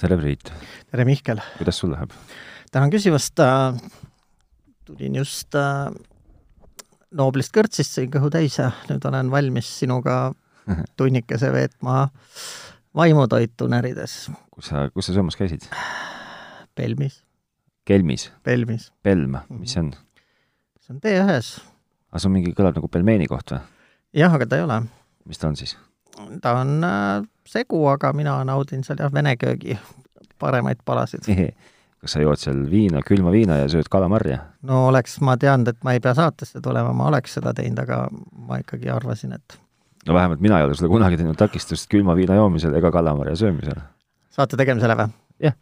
tere Priit! tere, Mihkel! kuidas sul läheb? tänan küsimast äh,. tulin just äh, Nooblist kõrtsist, sõin kõhu täis ja nüüd olen valmis sinuga tunnikese veetma vaimutoitu närides kus sa, kus sa söömas käisid? Pelmis, Kelmis , Pelmis . Pelm , mis see on ? see on tee ühes. aga see on mingi , kõlab nagu pelmeeni koht või ? jah , aga ta ei ole . mis ta on siis ? ta on äh, segu , aga mina naudin seal jah , vene köögi paremaid palasid . kas sa jood seal viina , külma viina ja sööd kalamarja ? no oleks ma teadnud , et ma ei pea saatesse tulema , ma oleks seda teinud , aga ma ikkagi arvasin , et no vähemalt mina ei ole sulle kunagi teinud takistust külma viina joomisel ega kalamarja söömisel . saate tegemisele või ? Jah. .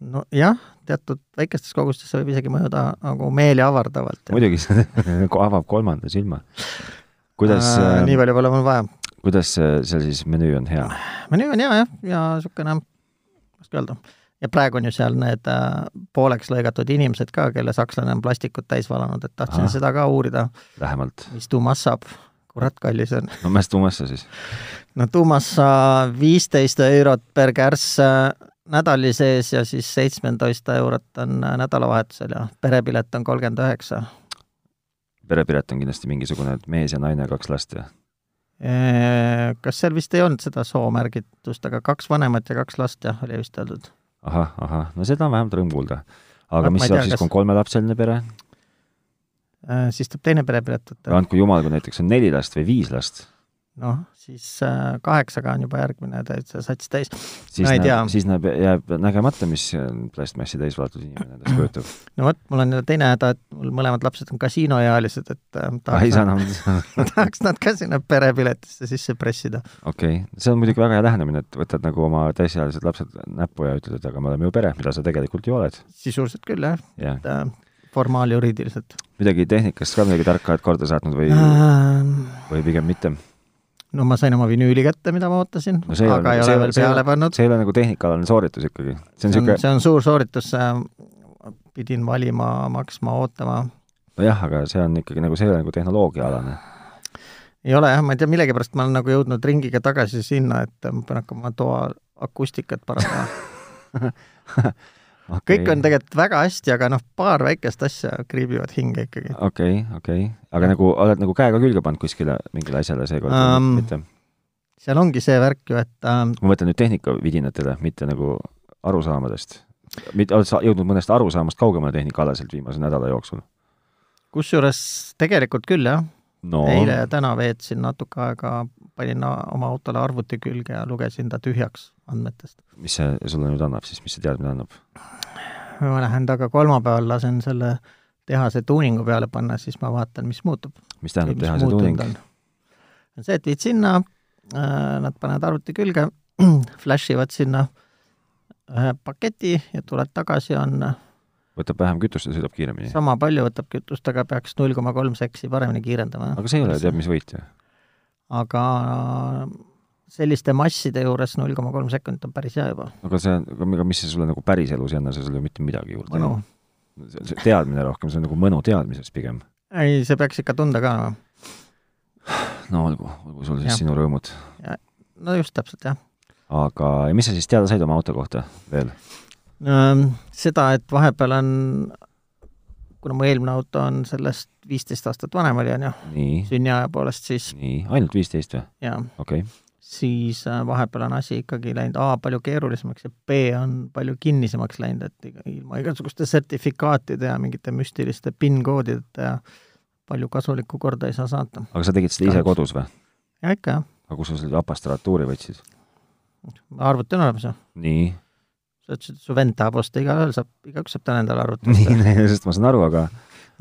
nojah , teatud väikestes kogustes see võib isegi mõjuda nagu meeleavardavalt . muidugi see ko- avab kolmanda silma . kuidas äh, ? nii äh, , palju pole mul vaja . kuidas äh, seal siis menüü on hea ? menüü on hea jah , ja niisugune , kuidas öelda , ja praegu on ju seal need äh, pooleks lõigatud inimesed ka , kelle sakslane on plastikut täis valanud , et tahtsin Ahah. Aha. seda ka uurida , lähemalt ? mis tuumas saab . kurat , kallis on . no mis tuumasse siis ? no tuumas viisteist eurot per kärss äh, nädali sees ja siis seitsmeteist eurot on äh, nädalavahetusel ja perepilet on kolmkümmend üheksa . perepilet on kindlasti mingisugune , et mees ja naine , kaks last ja Äh, Kas seal vist ei olnud seda soomärgitust , aga kaks vanemat ja kaks last jah , oli vist öeldud . ahah , ahah , no seda on vähemalt rõõm kuulda . aga Vot mis ma ei saab tea, siis , kas- kui on kolmelapseline pere ? Äh, siis tuleb teine perepilet võtta . andku jumal , kui näiteks on neli last või viis last , noh , siis äh, kaheksaga on juba järgmine täitsa sats täis . siis Ma ei tea. näeb , siis näeb , jääb nägemata , mis on plastmassi täis valatud inimene endast kujutab . no vot , mul on jälle teine häda , et mul mõlemad lapsed on kasiinoealised , et äh, ah ei tahaks saa nad, enam , tahaks nad ka sinna perepiletisse sisse pressida . okei , see on muidugi väga hea lähenemine , et võtad nagu oma täisealised lapsed näppu ja ütled , et aga me oleme ju pere , mida sa tegelikult ju oled . sisuliselt küll jah , jah , et äh, formaaljuriidiliselt midagi tehnikast ka midagi tarka oled korda saatnud või , no või pigem mitte ? Ähm, ma sain oma vinüüli kätte , mida ma ootasin No no, , see ei ole- aga ei see ole ei ole- veel see ei ole- peale pannud . see ei ole nagu tehnikaalane sooritus ikkagi , see on see on , niisugune , see on suur sooritus , pidin valima , maksma , ootama . nojah , aga see on ikkagi nagu , see ei ole nagu tehnoloogiaalane . ei ole jah , ma ei tea , millegipärast ma olen nagu jõudnud ringiga tagasi sinna , et ma pean hakkama toa akustikat parandama . Okay. kõik on tegelikult väga hästi , aga noh , paar väikest asja kriibivad hinge ikkagi . okei , okei , aga nagu oled nagu käega külge pannud kuskile mingile asjale seekord um, Ähm. ? mitte , seal ongi see värk ju , et äh, ma mõtlen nüüd tehnikavidinatele , mitte nagu arusaamadest . mitte , oled sa jõudnud mõnest arusaamast kaugemale tehnikaalaselt viimase nädala jooksul ? kusjuures tegelikult küll jah , no eile ja täna veetsin natuke aega , panin oma autole arvuti külge ja lugesin ta tühjaks andmetest . mis see sulle nüüd annab siis , mis see teadmine annab ? ma lähen taga kolmapäeval lasen selle tehase tuuningu peale panna , siis ma vaatan , mis muutub . mis tähendab teha see tuuning ? see , et viid sinna äh, , nad panevad arvuti külge , flash ivad sinna ühe paketi ja tuled tagasi , on võtab vähem kütust ja sõidab kiiremini ? sama palju , võtab kütust , aga peaks null koma kolm seksi paremini kiirendama . aga see ei ole ju teab mis võit ju . aga äh, selliste masside juures null koma kolm sekundit on päris hea juba . aga see , aga mis see sulle nagu päriselus ei anna , see sulle ju mitte midagi juurde mõnu .. teadmine rohkem , see on nagu mõnu teadmisest pigem . ei , see peaks ikka tunda ka olema . no olgu , olgu sul siis Jah. ja. sinu rõõmud . no just täpselt , jah . aga ja mis sa siis teada said oma auto kohta veel ? Ähm, seda , et vahepeal on , kuna mu eelmine auto on sellest viisteist aastat vanem oli , on ju , nii , sünniaja poolest , siis nii , ainult viisteist või ? jaa , okei okay. , siis äh, vahepeal on asi ikkagi läinud A palju keerulisemaks ja B on palju kinnisemaks läinud , et iga- ilma igasuguste sertifikaatide ja mingite müstiliste PIN-koodideta ja palju kasulikku korda ei saa saata . aga sa tegid seda ise Kahjuks. kodus või ? ja ikka jah , aga kus sa selle apastratuuri võtsid ? arvuti on olemas ju . nii , sa ütlesid , et su vend tahab osta , igaühel saab , igaüks saab täna endale arvuti nii osta . , sellest ma saan aru , aga ,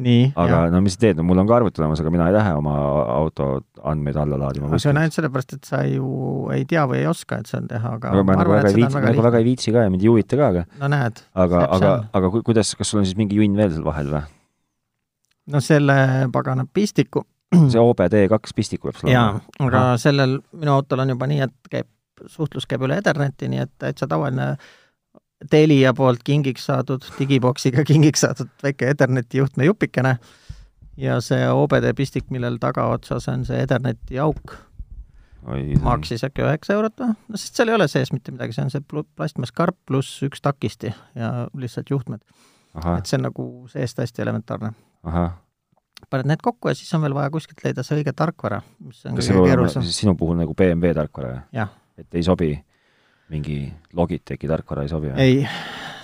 nii , aga no mis sa teed , no mul on ka arvuti olemas , aga mina ei lähe oma auto andmeid alla laadima aga see kuskilt . on ainult sellepärast , et sa ju ei tea või ei oska , et see on teha , aga aga ma nagu väga ei viitsi , väga nagu lihtne . väga ei viitsi ka ja mind ei huvita ka , aga , no näed , aga , Täpselt. aga , aga ku- kuidas , kas sul on siis mingi junn veel seal vahel või ? no selle pagana pistiku see OBD kaks pistik võib sul jaa olla ?, aga sellel minu autol on juba nii , et käib , suhtlus käib üle Etherneti , nii et täitsa tavaline Telia poolt kingiks saadud , digiboksiga kingiks saadud väike Etherneti juhtme jupikene ja see OBD pistik , millel tagaotsas on see Etherneti auk , maksis äkki üheksa eurot või? no sest seal ei ole sees mitte midagi, see on see plu- plastmasskarp pluss üks takisti ja lihtsalt juhtmed. ahah et , see on nagu seest hästi elementaarne. ahah . paned need kokku ja siis on veel vaja kuskilt leida see õige tarkvara, mis on kas see peab kõige olema keerulisem. siis sinu puhul nagu BMW tarkvara või ? jah , et ei sobi mingi Logitechi tarkvara ei sobi või ? ei ,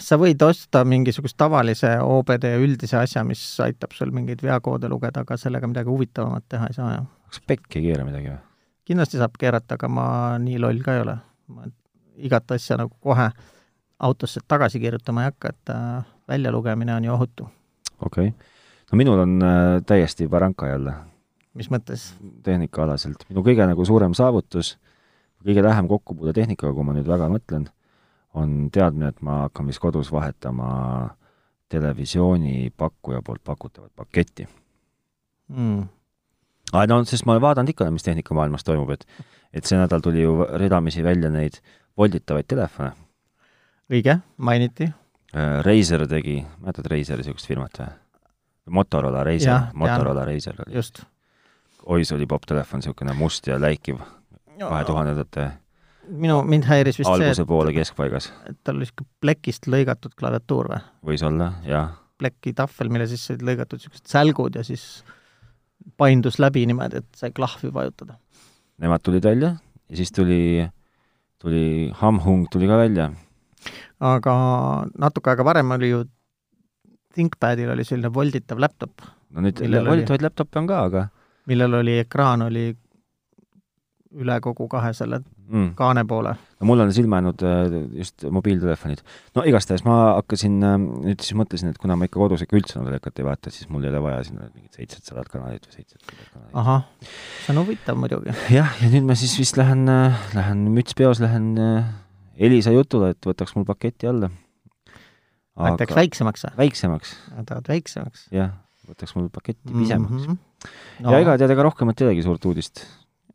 sa võid osta mingisugust tavalise OBD üldise asja, mis aitab sul mingeid veakoode lugeda, aga sellega midagi huvitavamat teha ei saa ju. kas pekki ei keera midagi või ? kindlasti saab keerata , aga ma nii loll ka ei ole. ma igat asja nagu kohe autosse tagasi kirjutama ei hakka , et äh, väljalugemine on ju ohutu. okei okay. . no minul on äh, täiesti baranka jälle mis mõttes ? tehnikaalaselt . minu kõige nagu suurem saavutus , kõige lähem kokkupuude tehnikaga , kui ma nüüd väga mõtlen , on teadmine , et ma hakkan vist kodus vahetama televisioonipakkuja poolt pakutavat paketti . Mm. aa , no sest ma olen vaadanud ikka , mis tehnikamaailmas toimub , et et see nädal tuli ju ridamisi välja neid volditavaid telefone . õige , mainiti . Äh, Razer tegi , mäletad Razeri niisugust firmat või ? Motorola Jah, Razer , tean. Motorola Razer oli . just . oi , see oli popp telefon , niisugune must ja läikiv , kahe tuhandendate minu , mind häiris vist alguse Alguse see , poole keskpaigas . et, et tal oli sihuke plekist lõigatud klaviatuur või ? võis olla , jah . plekitahvel , mille sisse olid lõigatud siuksed sälgud ja siis paindus läbi niimoodi , et sai klahvi vajutada . Nemad tulid välja ja siis tuli , tuli Hamhung tuli ka välja . aga natuke aega varem oli ju ThinkPadil oli selline volditav laptop , no nüüd Millel oli? volditavaid laptop'e on ka , aga millel oli ekraan oli üle kogu kahe selle mm. kaane poole . no mul on silma jäänud äh, just mobiiltelefonid . no igastahes ma hakkasin , nüüd siis mõtlesin , et kuna ma ikka kodus ikka üldse telekat ei vaata , siis mul ei ole vaja sinna mingit seitsesadat kanalit või seitsesadat kanalit . ahah , see on huvitav muidugi . jah , ja nüüd ma siis vist lähen , lähen müts peos , lähen äh, Elisa jutule , et võtaks mul paketi alla . Läks väiksemaks või ? väiksemaks , tahad väiksemaks ? jah , võtaks mul paketti pisemaks Mhm. mm . -hmm. no ja ega tead , ega rohkemat ei olegi suurt uudist .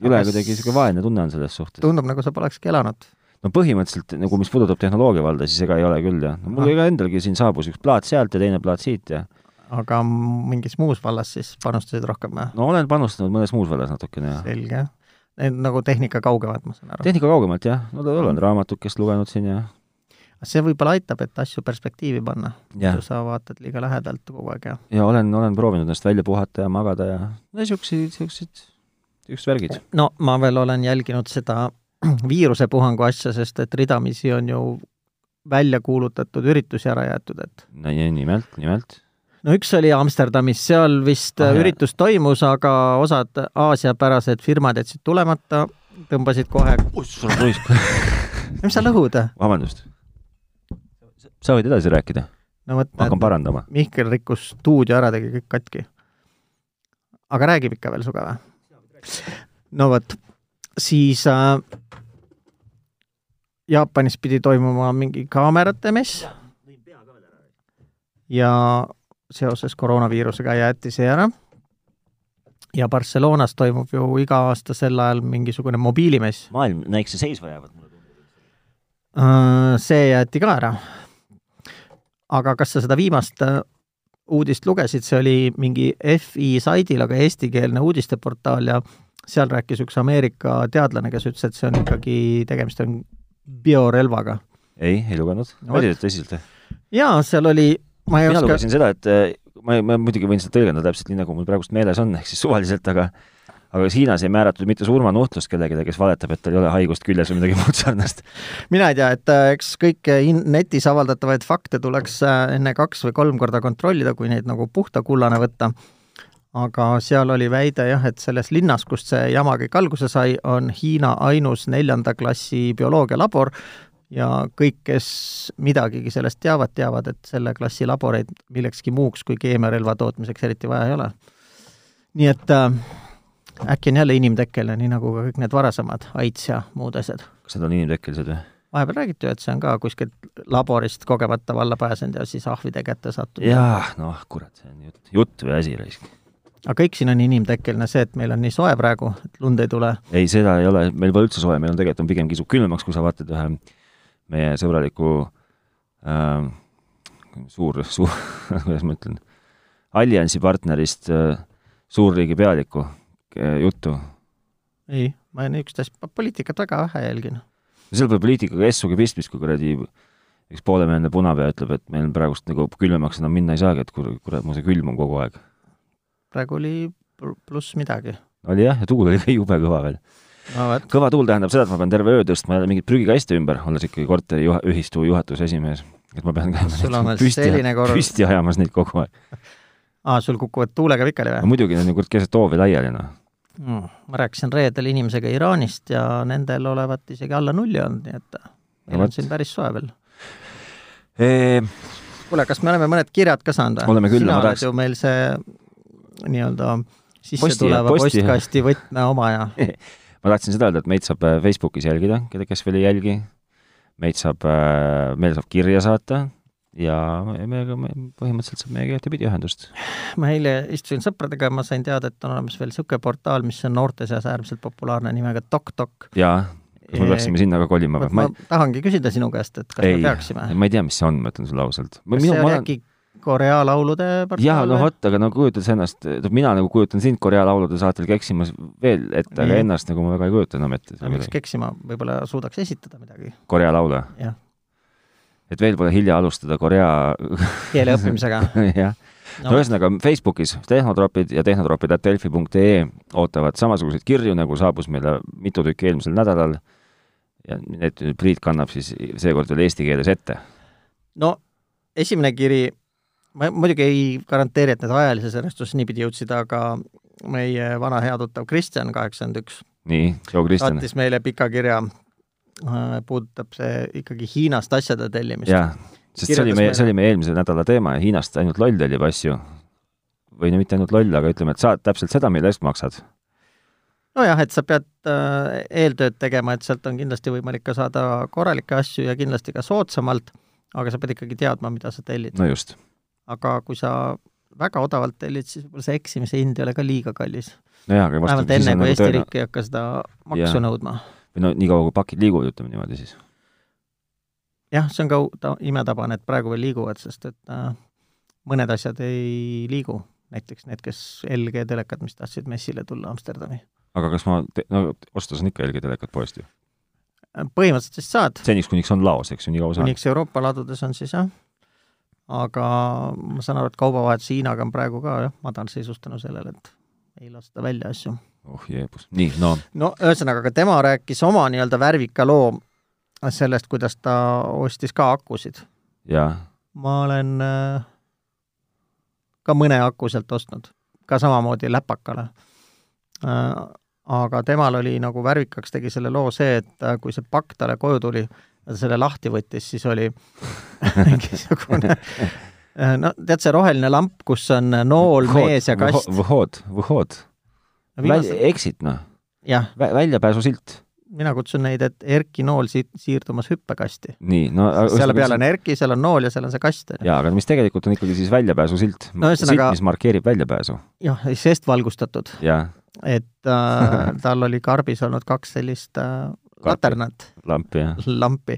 üle Aga kuidagi s- niisugune vaene tunne on selles suhtes . tundub nagu sa polekski elanud . no põhimõtteliselt nagu mis puudutab tehnoloogia valda , siis ega ei ole küll jah no, . mul Ah. ega endalgi siin saabus üks plaat sealt ja teine plaat siit ja aga mingis muus vallas siis panustasid rohkem või ? no olen panustanud mõnes muus vallas natukene ja selge . Need nagu tehnika kaugemad , ma saan aru . tehnika kaugemalt jah , no ta- olen raamatukest lugenud siin ja , see võib-olla aitab , et asju perspektiivi panna , ja , kui sa vaatad liiga lähedalt kogu aeg ja ja olen , olen proovinud ennast välja puhata ja magada ja no siukseid , siuksed , siuksed värgid . no ma veel olen jälginud seda viirusepuhangu asja , sest et ridamisi on ju välja kuulutatud üritusi ära jäetud , et nimelt , nimelt . no üks oli Amsterdamis , seal vist Ah, ah, jah. üritus toimus , aga osad Aasia-pärased firmad jätsid tulemata , tõmbasid kohe , mis sa lõhud ? vabandust . sa võid edasi rääkida , no vot , ma hakkan parandama . Mihkel rikkus stuudio ära , tegi kõik katki . aga räägib ikka veel Suga või ? no vot , siis äh, Jaapanis pidi toimuma mingi kaamerate mess ja seoses koroonaviirusega jäeti see ära . ja Barcelonas toimub ju iga aasta sel ajal mingisugune mobiilimess . maailm näikse seisma jäävad mulle tundub . Äh, see jäeti ka ära . aga kas sa seda viimast äh, uudist lugesid , see oli mingi FI saidil , aga eestikeelne uudisteportaal ja seal rääkis üks Ameerika teadlane , kes ütles , et see on ikkagi , tegemist on biorelvaga . ei , ei lugenud No no, . vot. oli tõsiselt või ? jaa , seal oli , ma ei mina oska , lugesin seda , et äh, ma , ma muidugi võin seda tõlgendada täpselt nii , nagu mul praegust meeles on , ehk siis suvaliselt , aga aga kas Hiinas ei määratud mitte surmanuhtlust kellelegi , kes valetab , et tal ei ole haigust küljes või midagi muud sarnast ? mina ei tea , et äh, eks kõiki in- netis avaldatavaid fakte tuleks äh, enne kaks või kolm korda kontrollida , kui neid nagu puhta kullana võtta . aga seal oli väide jah , et selles linnas , kust see jama kõik alguse sai , on Hiina ainus neljanda klassi bioloogialabor ja kõik , kes midagigi sellest teavad , teavad , et selle klassi laboreid millekski muuks kui keemiarelva tootmiseks eriti vaja ei ole . nii et äh, äkki on jälle inimtekkeline , nii nagu ka kõik need varasemad AIDS ja muud asjad . kas need on inimtekkelised või ? vahepeal räägiti ju , et see on ka kuskilt laborist kogemata valla pääsenud ja siis ahvide kätte sattunud . jaa , noh , kurat , see on jutt , jutt või asi raisk . aga kõik siin on inimtekkeline see , et meil on nii soe praegu , et lund ei tule . ei , seda ei ole , meil pole üldse soe , meil on tegelikult on pigem kisub külmemaks , kui sa vaatad ühe meie sõbraliku äh, suur , suur , kuidas ma ütlen , alliansi partnerist äh, suurriigi pealiku äh, juttu , ei , ma niisugust asja, ma poliitikat väga vähe jälgin . seal pole poliitikaga S-ugi pistmist , kui kuradi üks poolemeelne punapea ütleb , et meil praegust nagu külmemaks enam minna ei saagi , et kur- kurat , mul see külm on kogu aeg . praegu oli pl- pluss midagi . oli jah , ja tuul oli ka jube kõva veel . no vot , kõva tuul tähendab seda , et ma pean terve öö tõstma jälle mingit prügikaste ümber , olles ikkagi korteri juha- , ühistu juhatuse esimees . et ma pean Sul on käima veel selline korv- püsti ajamas neid kogu aeg . aa , sul kukuvad tuulega pikali või ? muidugi need on ju kurat keset hoovi laiali noh . mm. . ma rääkisin reedel inimesega Iraanist ja nendel olevat isegi alla nulli olnud , nii et meil on vot. siin päris soe veel . kuule , kas me oleme mõned kirjad ka saanud Oleme küll, sina ma oled tahaks- ju meil see nii-öelda Posti- sisse posti, tuleva posti- posti. postkasti võtmeomaja . ma tahtsin seda öelda , et meid saab äh, Facebookis jälgida , keda , kes veel ei jälgi . meid saab , meile saab kirja saata ja meiega , põhimõtteliselt saab meiega ühtepidi ühendust . ma eile istusin sõpradega ja ma sain teada , et on olemas veel niisugune portaal , mis on noorte seas äärmiselt populaarne nimega DocDoc . jaa , kas me peaksime sinna ka kolima ma, või ? ma tahangi küsida sinu käest , et kas ei, me peaksime . ma ei tea , mis see on , ma ütlen sulle ausalt . kas see oli äkki Korea laulude jaa , portaal no või ? vot , aga no kujutad sa ennast , mina nagu kujutan sind Korea laulude saatel keksimas veel ette , aga Nii. ennast nagu ma väga ei kujuta enam ette . aga miks keksima , võib-olla suudaks esitada midagi , Korea laule , jah , et veel pole hilja alustada Korea keele õppimisega . jah no. , ühesõnaga Facebookis tehnotropid ja tehnotropid.delfi.ee ootavad samasuguseid kirju , nagu saabus meile mitu tükki eelmisel nädalal . ja need nüüd Priit kannab siis seekord veel eesti keeles ette . no esimene kiri , ma muidugi ei garanteeri , et need ajalises järjestuses niipidi jõudsid , aga meie vana hea tuttav Kristjan , kaheksakümmend üks , nii , Joe Kristjan . saatis meile pika kirja , puudutab see ikkagi Hiinast asjade tellimist . jah , sest see oli Kirjutas meie , meile. see oli meie eelmise nädala teema ja Hiinast ainult loll tellib asju . või no mitte ainult loll , aga ütleme , et saad täpselt seda , mille eest maksad . nojah , et sa pead äh, eeltööd tegema , et sealt on kindlasti võimalik ka saada korralikke asju ja kindlasti ka soodsamalt , aga sa pead ikkagi teadma , mida sa tellid . no just , aga kui sa väga odavalt tellid , siis võib-olla see eksimise hind ei ole ka liiga kallis . nojah , aga vähemalt vastupidi , siis enne , on nagu kui Eesti tõenäoline , riik ei hakka seda Jah. maksu nõudma . või no niikaua kui pakid liiguvad , ütleme niimoodi siis . jah , see on ka u- ta- imetabane , et praegu veel liiguvad , sest et äh, mõned asjad ei liigu , näiteks need , kes LG telekad , mis tahtsid messile tulla Amsterdami . aga kas ma , no osta saan ikka jälgi telekat poest ju . Äh, põhimõtteliselt siis saad , seniks , kuniks on laos , eks ju , nii kaua saan . kuniks Euroopa ladudes on siis jah , aga ma saan aru , et kaubavahetus Hiinaga on praegu ka jah , madalseisus tänu sellele , et ei lasta välja asju . oh jeebus , nii , no no ühesõnaga , aga tema rääkis oma nii-öelda värvika loo sellest , kuidas ta ostis ka akusid . jaa , ma olen äh, ka mõne aku sealt ostnud , ka samamoodi läpakale . aga temal oli nagu värvikaks tegi selle loo see , et äh, kui see pakk talle koju tuli ja ta selle lahti võttis , siis oli mingisugune äh, no tead , see roheline lamp , kus on nool , mees ja kast . Vhod , Vhod , exit noh , jah , väljapääsusilt , mina kutsun neid , et Erki nool siit siirdumas hüppekasti . nii , no selle peal on Erki , seal on nool ja seal on see kast . jaa , aga mis tegelikult on ikkagi siis väljapääsusilt no, , No silt ühesõnaga- , mis markeerib väljapääsu , jah , seest valgustatud , jaa , et äh, tal oli karbis olnud kaks sellist äh, laternat , lamp ja , lampi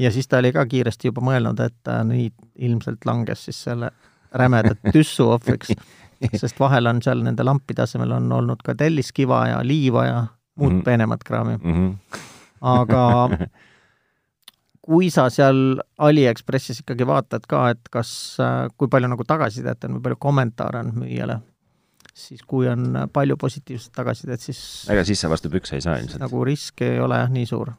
ja siis ta oli ka kiiresti juba mõelnud , et ta nüüd ilmselt langes siis selle rämeda tüssu ohvriks , sest vahel on seal nende lampide asemel on olnud ka telliskiva ja liiva ja muud Mhm. peenemat kraami , mm -hmm. aga kui sa seal Aliekspressis ikkagi vaatad ka , et kas , kui palju nagu tagasisidet on , kui palju kommentaare on müüjale , siis kui on palju positiivset tagasisidet , siis ega sisse vastu pükse ei saa ilmselt nagu... . nagu risk ei ole jah nii suur .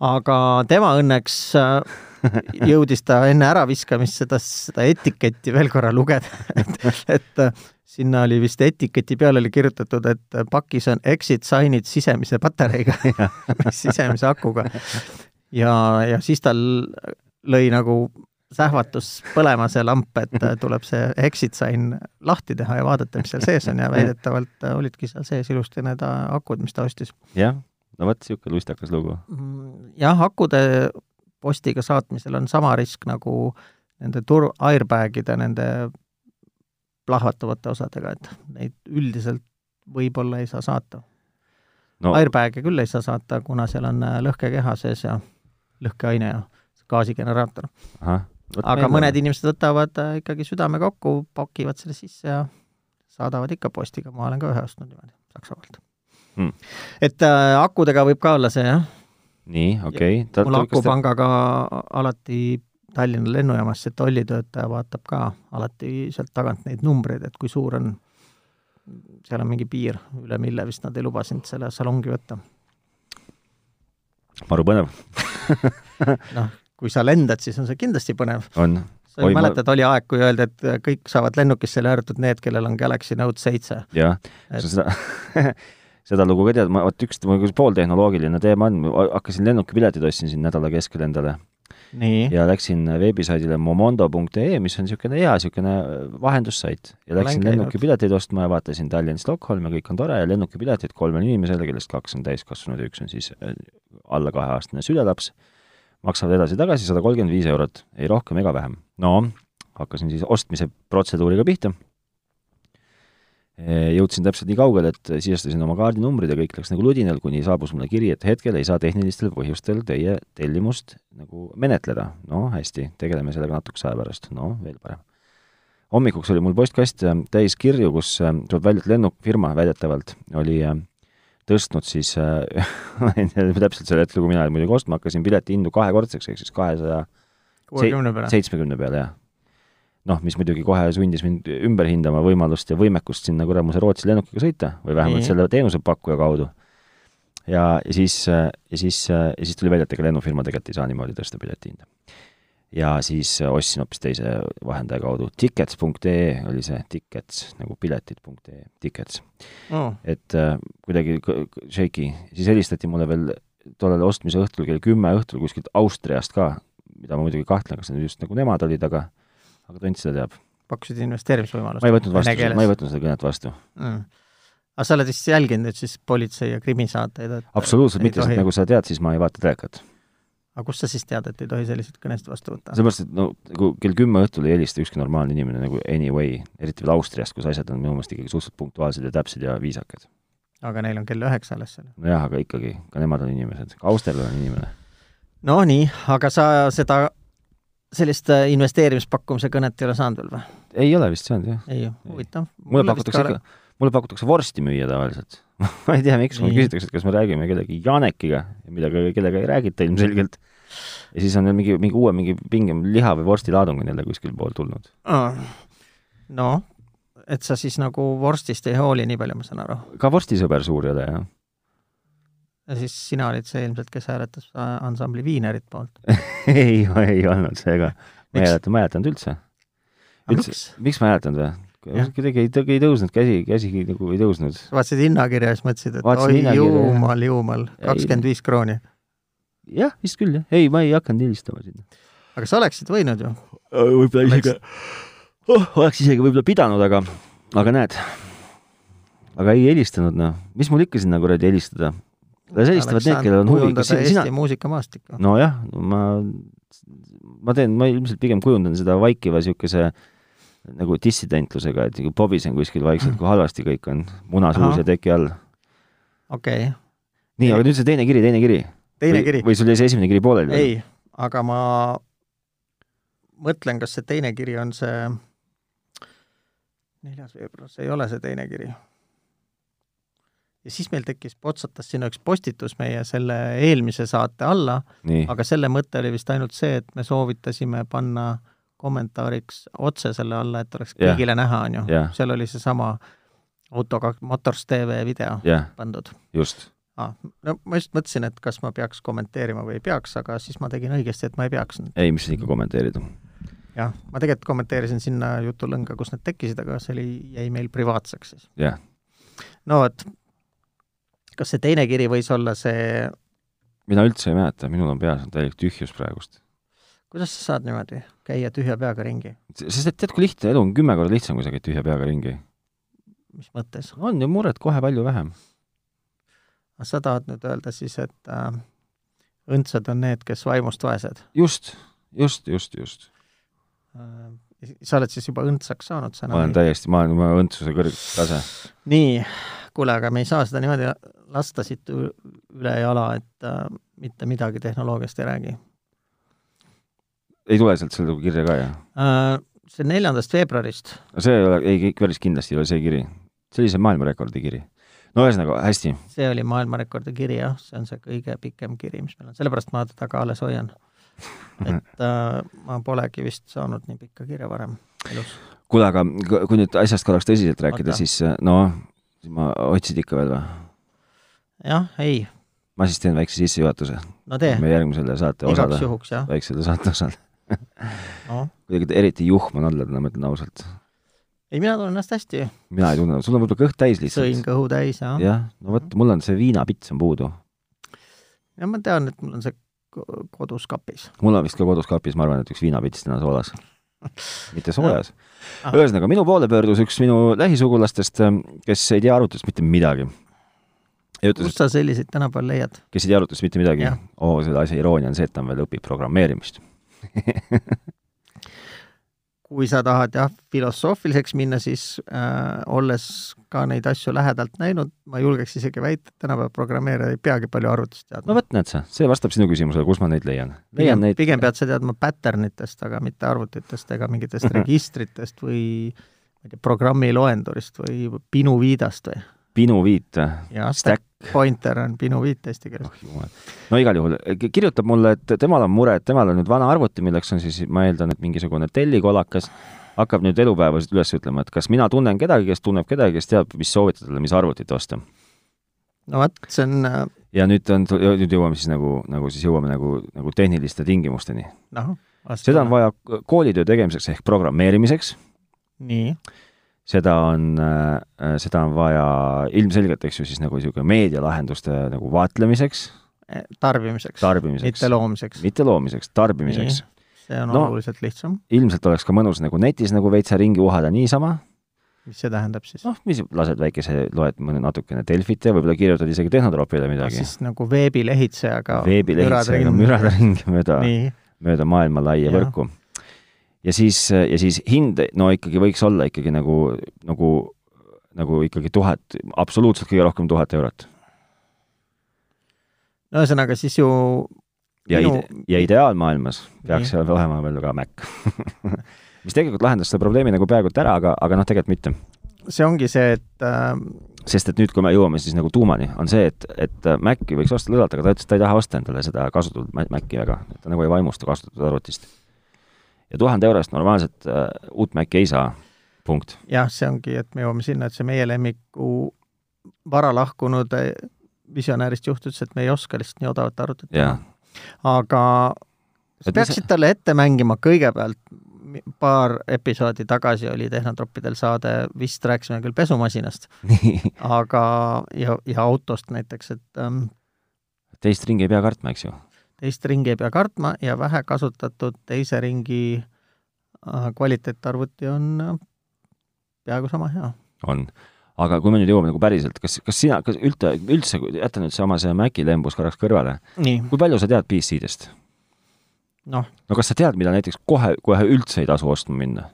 aga tema õnneks äh, jõudis ta enne äraviskamist seda , seda etiketti veel korra lugeda , et , et äh, sinna oli vist etiketi peal oli kirjutatud , et äh, pakis on exit sign'id sisemise patareiga , sisemise akuga . ja , ja siis tal lõi nagu sähvatus põlema see lamp , et äh, tuleb see exit sign lahti teha ja vaadata , mis seal sees on ja väidetavalt äh, olidki seal sees ilusti need äh, akud , mis ta ostis . jah , no vot , niisugune lustakas lugu , Mm, jah , akude postiga saatmisel on sama risk nagu nende tur- , airbagide , nende plahvatavate osadega , et neid üldiselt võib-olla ei saa saata no no. . Airbag'e küll ei saa saata , kuna seal on äh, lõhkekeha sees ja lõhkeaine ja gaasigeneraator . ahah , aga mõned inimesed võtavad äh, ikkagi südame kokku , pakivad selle sisse ja saadavad ikka postiga , ma olen ka ühe ostnud niimoodi Saksamaalt . Mm. et äh, akudega võib ka olla see jah, nii , okei okay. . mul akupangaga alati Tallinna lennujaamas see tollitöötaja vaatab ka alati sealt tagant neid numbreid , et kui suur on , seal on mingi piir , üle mille vist nad ei luba sind selle salongi võtta . maru põnev noh , kui sa lendad , siis on see kindlasti põnev . on . sa ju Oi, ma- mäletad , oli aeg , kui öeldi , et kõik saavad lennukisse , välja arvatud need , kellel on Galaxy Note seitse . jah , Et- sa seda , seda lugu ka tead , ma vot üks , mul üks pooltehnoloogiline teema on , hakkasin lennukipiletid ostsin siin nädala keskel endale nii , ja läksin veebisaidile momondo.ee , mis on niisugune hea niisugune vahendussait ja Olen läksin käinud. lennukipileteid ostma ja vaatasin Tallinn-Stockholm ja kõik on tore ja lennukipiletid kolmele inimesele , kellest kaks on täiskasvanud ja üks on siis äh, alla kaheaastane sülelaps , maksavad edasi-tagasi sada kolmkümmend viis eurot , ei rohkem ega vähem . no hakkasin siis ostmise protseduuriga pihta . jõudsin täpselt nii kaugele , et sisestasin oma kaardinumbrid ja kõik läks nagu ludinal , kuni saabus mulle kiri , et hetkel ei saa tehnilistel põhjustel teie tellimust nagu menetleda . no hästi , tegeleme sellega natukese aja pärast , no veel parem . hommikuks oli mul postkast äh, täis kirju , kus äh, tuleb välja , et lennufirma väidetavalt oli äh, tõstnud siis äh, , täpselt sel hetkel , kui mina muidugi ostma hakkasin , piletihindu kahekordseks ehk siis kahesaja kuuekümne peale . seitsmekümne peale , jah . noh , mis muidugi kohe sundis mind ümber hindama võimalust ja võimekust sinna kuramuse Rootsi lennukiga sõita või vähemalt Nii. selle teenusepakkuja kaudu . ja , ja siis , ja siis , ja siis tuli välja , et ega lennufirma tegelikult ei saa niimoodi tõsta piletihinda . ja siis äh, ostsin hoopis teise vahendaja kaudu , tickets.ee oli see , tickets nagu piletid.ee , tickets . Oh, et äh, kuidagi k- k- shaky , siis helistati mulle veel tollel ostmise õhtul kell kümme õhtul kuskilt Austriast ka , mida ma muidugi kahtlen , kas need just nagu nemad olid , aga aga tont seda teab . pakkusid investeerimisvõimalust . ma ei võtnud vastu , ma ei . võtnud seda kõnet vastu . aga sa oled vist jälginud nüüd siis politsei ja krimisaateid , et absoluutselt ei mitte , sest tohi. nagu sa tead , siis ma ei vaata telekat . aga kust sa siis tead , et ei tohi selliseid kõnesid vastu võtta ? sellepärast , et no nagu kell kümme õhtul ei helista ükski normaalne inimene nagu anyway , eriti veel Austriast , kus asjad on minu meelest ikkagi suhteliselt punktuaalsed ja täpsed ja viisakad . aga neil on kell üheksa alles seal . nojah , aga ikkagi , ka nemad on inimesed , ka austerlane on inimene . no nii , aga sa seda , sellist äh, investeerimispakkumise kõnet ei ole saanud veel või ? ei ole vist saanud , jah . ei , huvitav . mulle pakutakse ikka , mulle pakutakse vorsti müüa tavaliselt . ma ei tea , miks , mulle Nii. küsitakse , et kas me räägime kellegi Janekiga , millega , kellega ei räägita ilmselgelt . ja siis on neil mingi , mingi uue , mingi pingem liha või vorstilaadung on jälle kuskil pool tulnud . no , et sa siis nagu vorstist ei hooli , nii palju ma saan aru . ka vorstisõber suur ei ole , jah . ja siis sina olid see ilmselt , kes hääletas äh, ansambli Viinerit poolt . ei , ei olnud seega . ma ei Miks? hääletanud , ma ei hääletanud üldse . üldse , miks ? miks ma ei hääletanud või ? Jah. kuidagi ei tõ- ei tõusnud käsi , käsi nagu ei tõusnud . vaatasid hinnakirja ja siis mõtlesid , et Vaatasin oi hinnakirja, jah. jumal , jumal , Ei. kakskümmend viis krooni . jah , vist küll , jah . ei , ma ei hakanud helistama sinna . aga sa oleksid võinud ju . Äh, võib-olla isegi- oh, , oleks isegi võib-olla pidanud , aga , aga näed , aga ei helistanud , noh , mis mul ikka sinna kuradi helistada . Las helistavad need , kellel on huvi , kas kas si- sina . sina , Mm. Eesti muusikamaastikku . nojah , ma , ma teen , ma ilmselt pigem kujundan seda vaikiva niisuguse nagu dissidentlusega , et nagu pobisen kuskil vaikselt , kui halvasti kõik on , muna suus Ahah. ja teki all . okei okay. , nii , aga nüüd see teine kiri , teine kiri . teine kiri . või sul jäi see esimene kiri pooleli ? ei , aga ma mõtlen , kas see teine kiri on see neljas veebruar , see ei ole see teine kiri . ja siis meil tekkis , potsatas sinna üks postitus meie selle eelmise saate alla , nii , aga selle mõte oli vist ainult see , et me soovitasime panna kommentaariks otse selle alla , et oleks Jah. kõigile näha , on ju Jah. . seal oli seesama autoga Motors TV video jah , pandud . just . ah, . no ma just mõtlesin , et kas ma peaks kommenteerima või ei peaks , aga siis ma tegin õigesti , et ma ei peaks . ei , mis siin ikka kommenteerida . jah , ma tegelikult kommenteerisin sinna jutulõnga , kus need tekkisid , aga see oli , jäi meil privaatseks siis . jah , no vot , kas see teine kiri võis olla see , mina üldse ei mäleta , minul on peas on täielik tühjus praegust . kuidas sa saad niimoodi käia tühja peaga ringi , sest et tead , kui lihtne elu on , kümme korda lihtsam , kui sa käid tühja peaga ringi . mis mõttes ? on ju muret kohe palju vähem . sa tahad nüüd öelda siis , et äh, õndsad on need , kes vaimust vaesed just , just , just , just . äh, ? sa oled siis juba õndsaks saanud sõna ? ma olen täiesti , ma olen oma õndsuse kõrgtase . nii , kuule , aga me ei saa seda niimoodi lasta siit ü- üle jala , et äh, mitte midagi tehnoloogiast ei räägi ei tule sealt selle kirja ka , jah ? äh, . see neljandast veebruarist , see ei ole , ei , päris kindlasti ei ole see kiri . see oli see maailmarekordi kiri . no ühesõnaga, hästi, see oli maailmarekordi kiri, jah, see on see kõige pikem kiri, mis meil on, sellepärast ma teda ka alles hoian . et äh, ma polegi vist saanud nii pikka kirja varem elus . kuule , aga k- kui nüüd asjast korraks tõsiselt rääkida , Oota. siis noh , ma , otsid ikka veel või ? jah , ei , ma siis teen väikse sissejuhatuse no tee , meie järgmisele saate igaks osale , juhuks jah , väiksele saate osale . noh . kuidagi eriti juhm on olla täna , ma ütlen ausalt . ei , mina tunnen ennast hästi , mina ei tunne , sul on võib-olla kõht täis sõin lihtsalt . kõhu täis ja , jah , no vot , mul on see viinapits on puudu . ja ma tean , et mul on see ko- kodus kapis . mul on vist ka kodus kapis , ma arvan , et üks viinapits täna soolas . mitte soojas . Ah. ühesõnaga , minu poole pöördus üks minu lähisugulastest , kes ei tea arvutust mitte midagi . ja ütles , kust sa selliseid tänapäeval leiad ? kes ei tea arvutust mitte midagi Jah. , oo , selle asja iroonia on see , et ta veel õpib programmeerimist . kui sa tahad jah , filosoofiliseks minna , siis äh, olles ka neid asju lähedalt näinud , ma julgeks isegi väita , et tänapäeva programmeerija ei peagi palju arvutust teadma no . vot , näed sa , see vastab sinu küsimusele , kus ma neid leian . leian pigem, neid pigem pead sa teadma pattern itest , aga mitte arvutitest ega Mhm. mingitest registritest või ma ei tea , programmiloendurist või pinuviidast või ? Pinu viite . jah , stack Stack , pointer on pinuviit eesti keeles . oh jumal . no igal juhul , kirjutab mulle , et temal on mure , et temal on nüüd vana arvuti , milleks on siis , ma eeldan , et mingisugune tellikolakas , hakkab nüüd elupäevaselt üles ütlema , et kas mina tunnen kedagi , kes tunneb kedagi , kes teab , mis soovitada talle , mis arvutit osta . no vot , see on äh, ja nüüd on , nüüd jõuame siis nagu , nagu siis jõuame nagu , nagu tehniliste tingimusteni . noh . seda on . vaja koolitöö tegemiseks ehk programmeerimiseks , nii , seda on , seda on vaja ilmselgelt , eks ju , siis nagu niisugune meedialahenduste nagu vaatlemiseks , eh, tarbimiseks, tarbimiseks mitte , loomiseks . mitte loomiseks , tarbimiseks . see on No. no. oluliselt lihtsam . ilmselt oleks ka mõnus nagu netis nagu veitsa ringi uhada niisama , mis see tähendab siis no, ? noh , mis lased väikese , loed mõne natukene Delfit ja võib-olla kirjutad isegi Tehnotropile midagi . siis nagu veebilehitsejaga . veebilehitsega mürada . ringi mööda , nii , mööda maailma laia Jah. võrku . ja siis , ja siis hind , no ikkagi võiks olla ikkagi nagu , nagu , nagu ikkagi tuhat , absoluutselt kõige rohkem tuhat eurot . no ühesõnaga siis ju ja Minu- ide- , ja ideaalmaailmas peaks Nii. seal olema veel ka Mac . mis tegelikult lahendas selle probleemi nagu peaaegu et ära , aga , aga noh , tegelikult mitte . see ongi see , et äh, sest et nüüd , kui me jõuame siis nagu tuumani , on see , et , et äh, Maci võiks osta lõdvalt , aga ta ütles , et ta ei taha osta endale seda kasutatud Ma- Maci väga , ta nagu ei vaimusta kasutatud arvutist . ja tuhande eurost normaalset äh, uut Maci ei saa , punkt . jah , see ongi , et me jõuame sinna , et see meie lemmiku vara lahkunud eh, visionäärist juht ütles , et me ei oska lihtsalt nii odavat arvutit jaa , aga Et sa mis- peaksid talle ette mängima kõigepealt , paar episoodi tagasi oli Tehnotroppidel saade , vist rääkisime küll pesumasinast , nii , aga , ja , ja autost näiteks , et ähm, teist ringi ei pea kartma , eks ju . teist ringi ei pea kartma ja vähe kasutatud teise ringi äh, kvaliteetarvuti on äh, peaaegu sama hea . on . aga kui me nüüd jõuame nagu päriselt , kas , kas sina , kas üldse , üldse , jäta nüüd sama see Maci lembus korraks kõrvale , nii , kui palju sa tead PC-dest ? Noh. , no kas sa tead , mida näiteks kohe , kohe üldse ei tasu ostma minna ?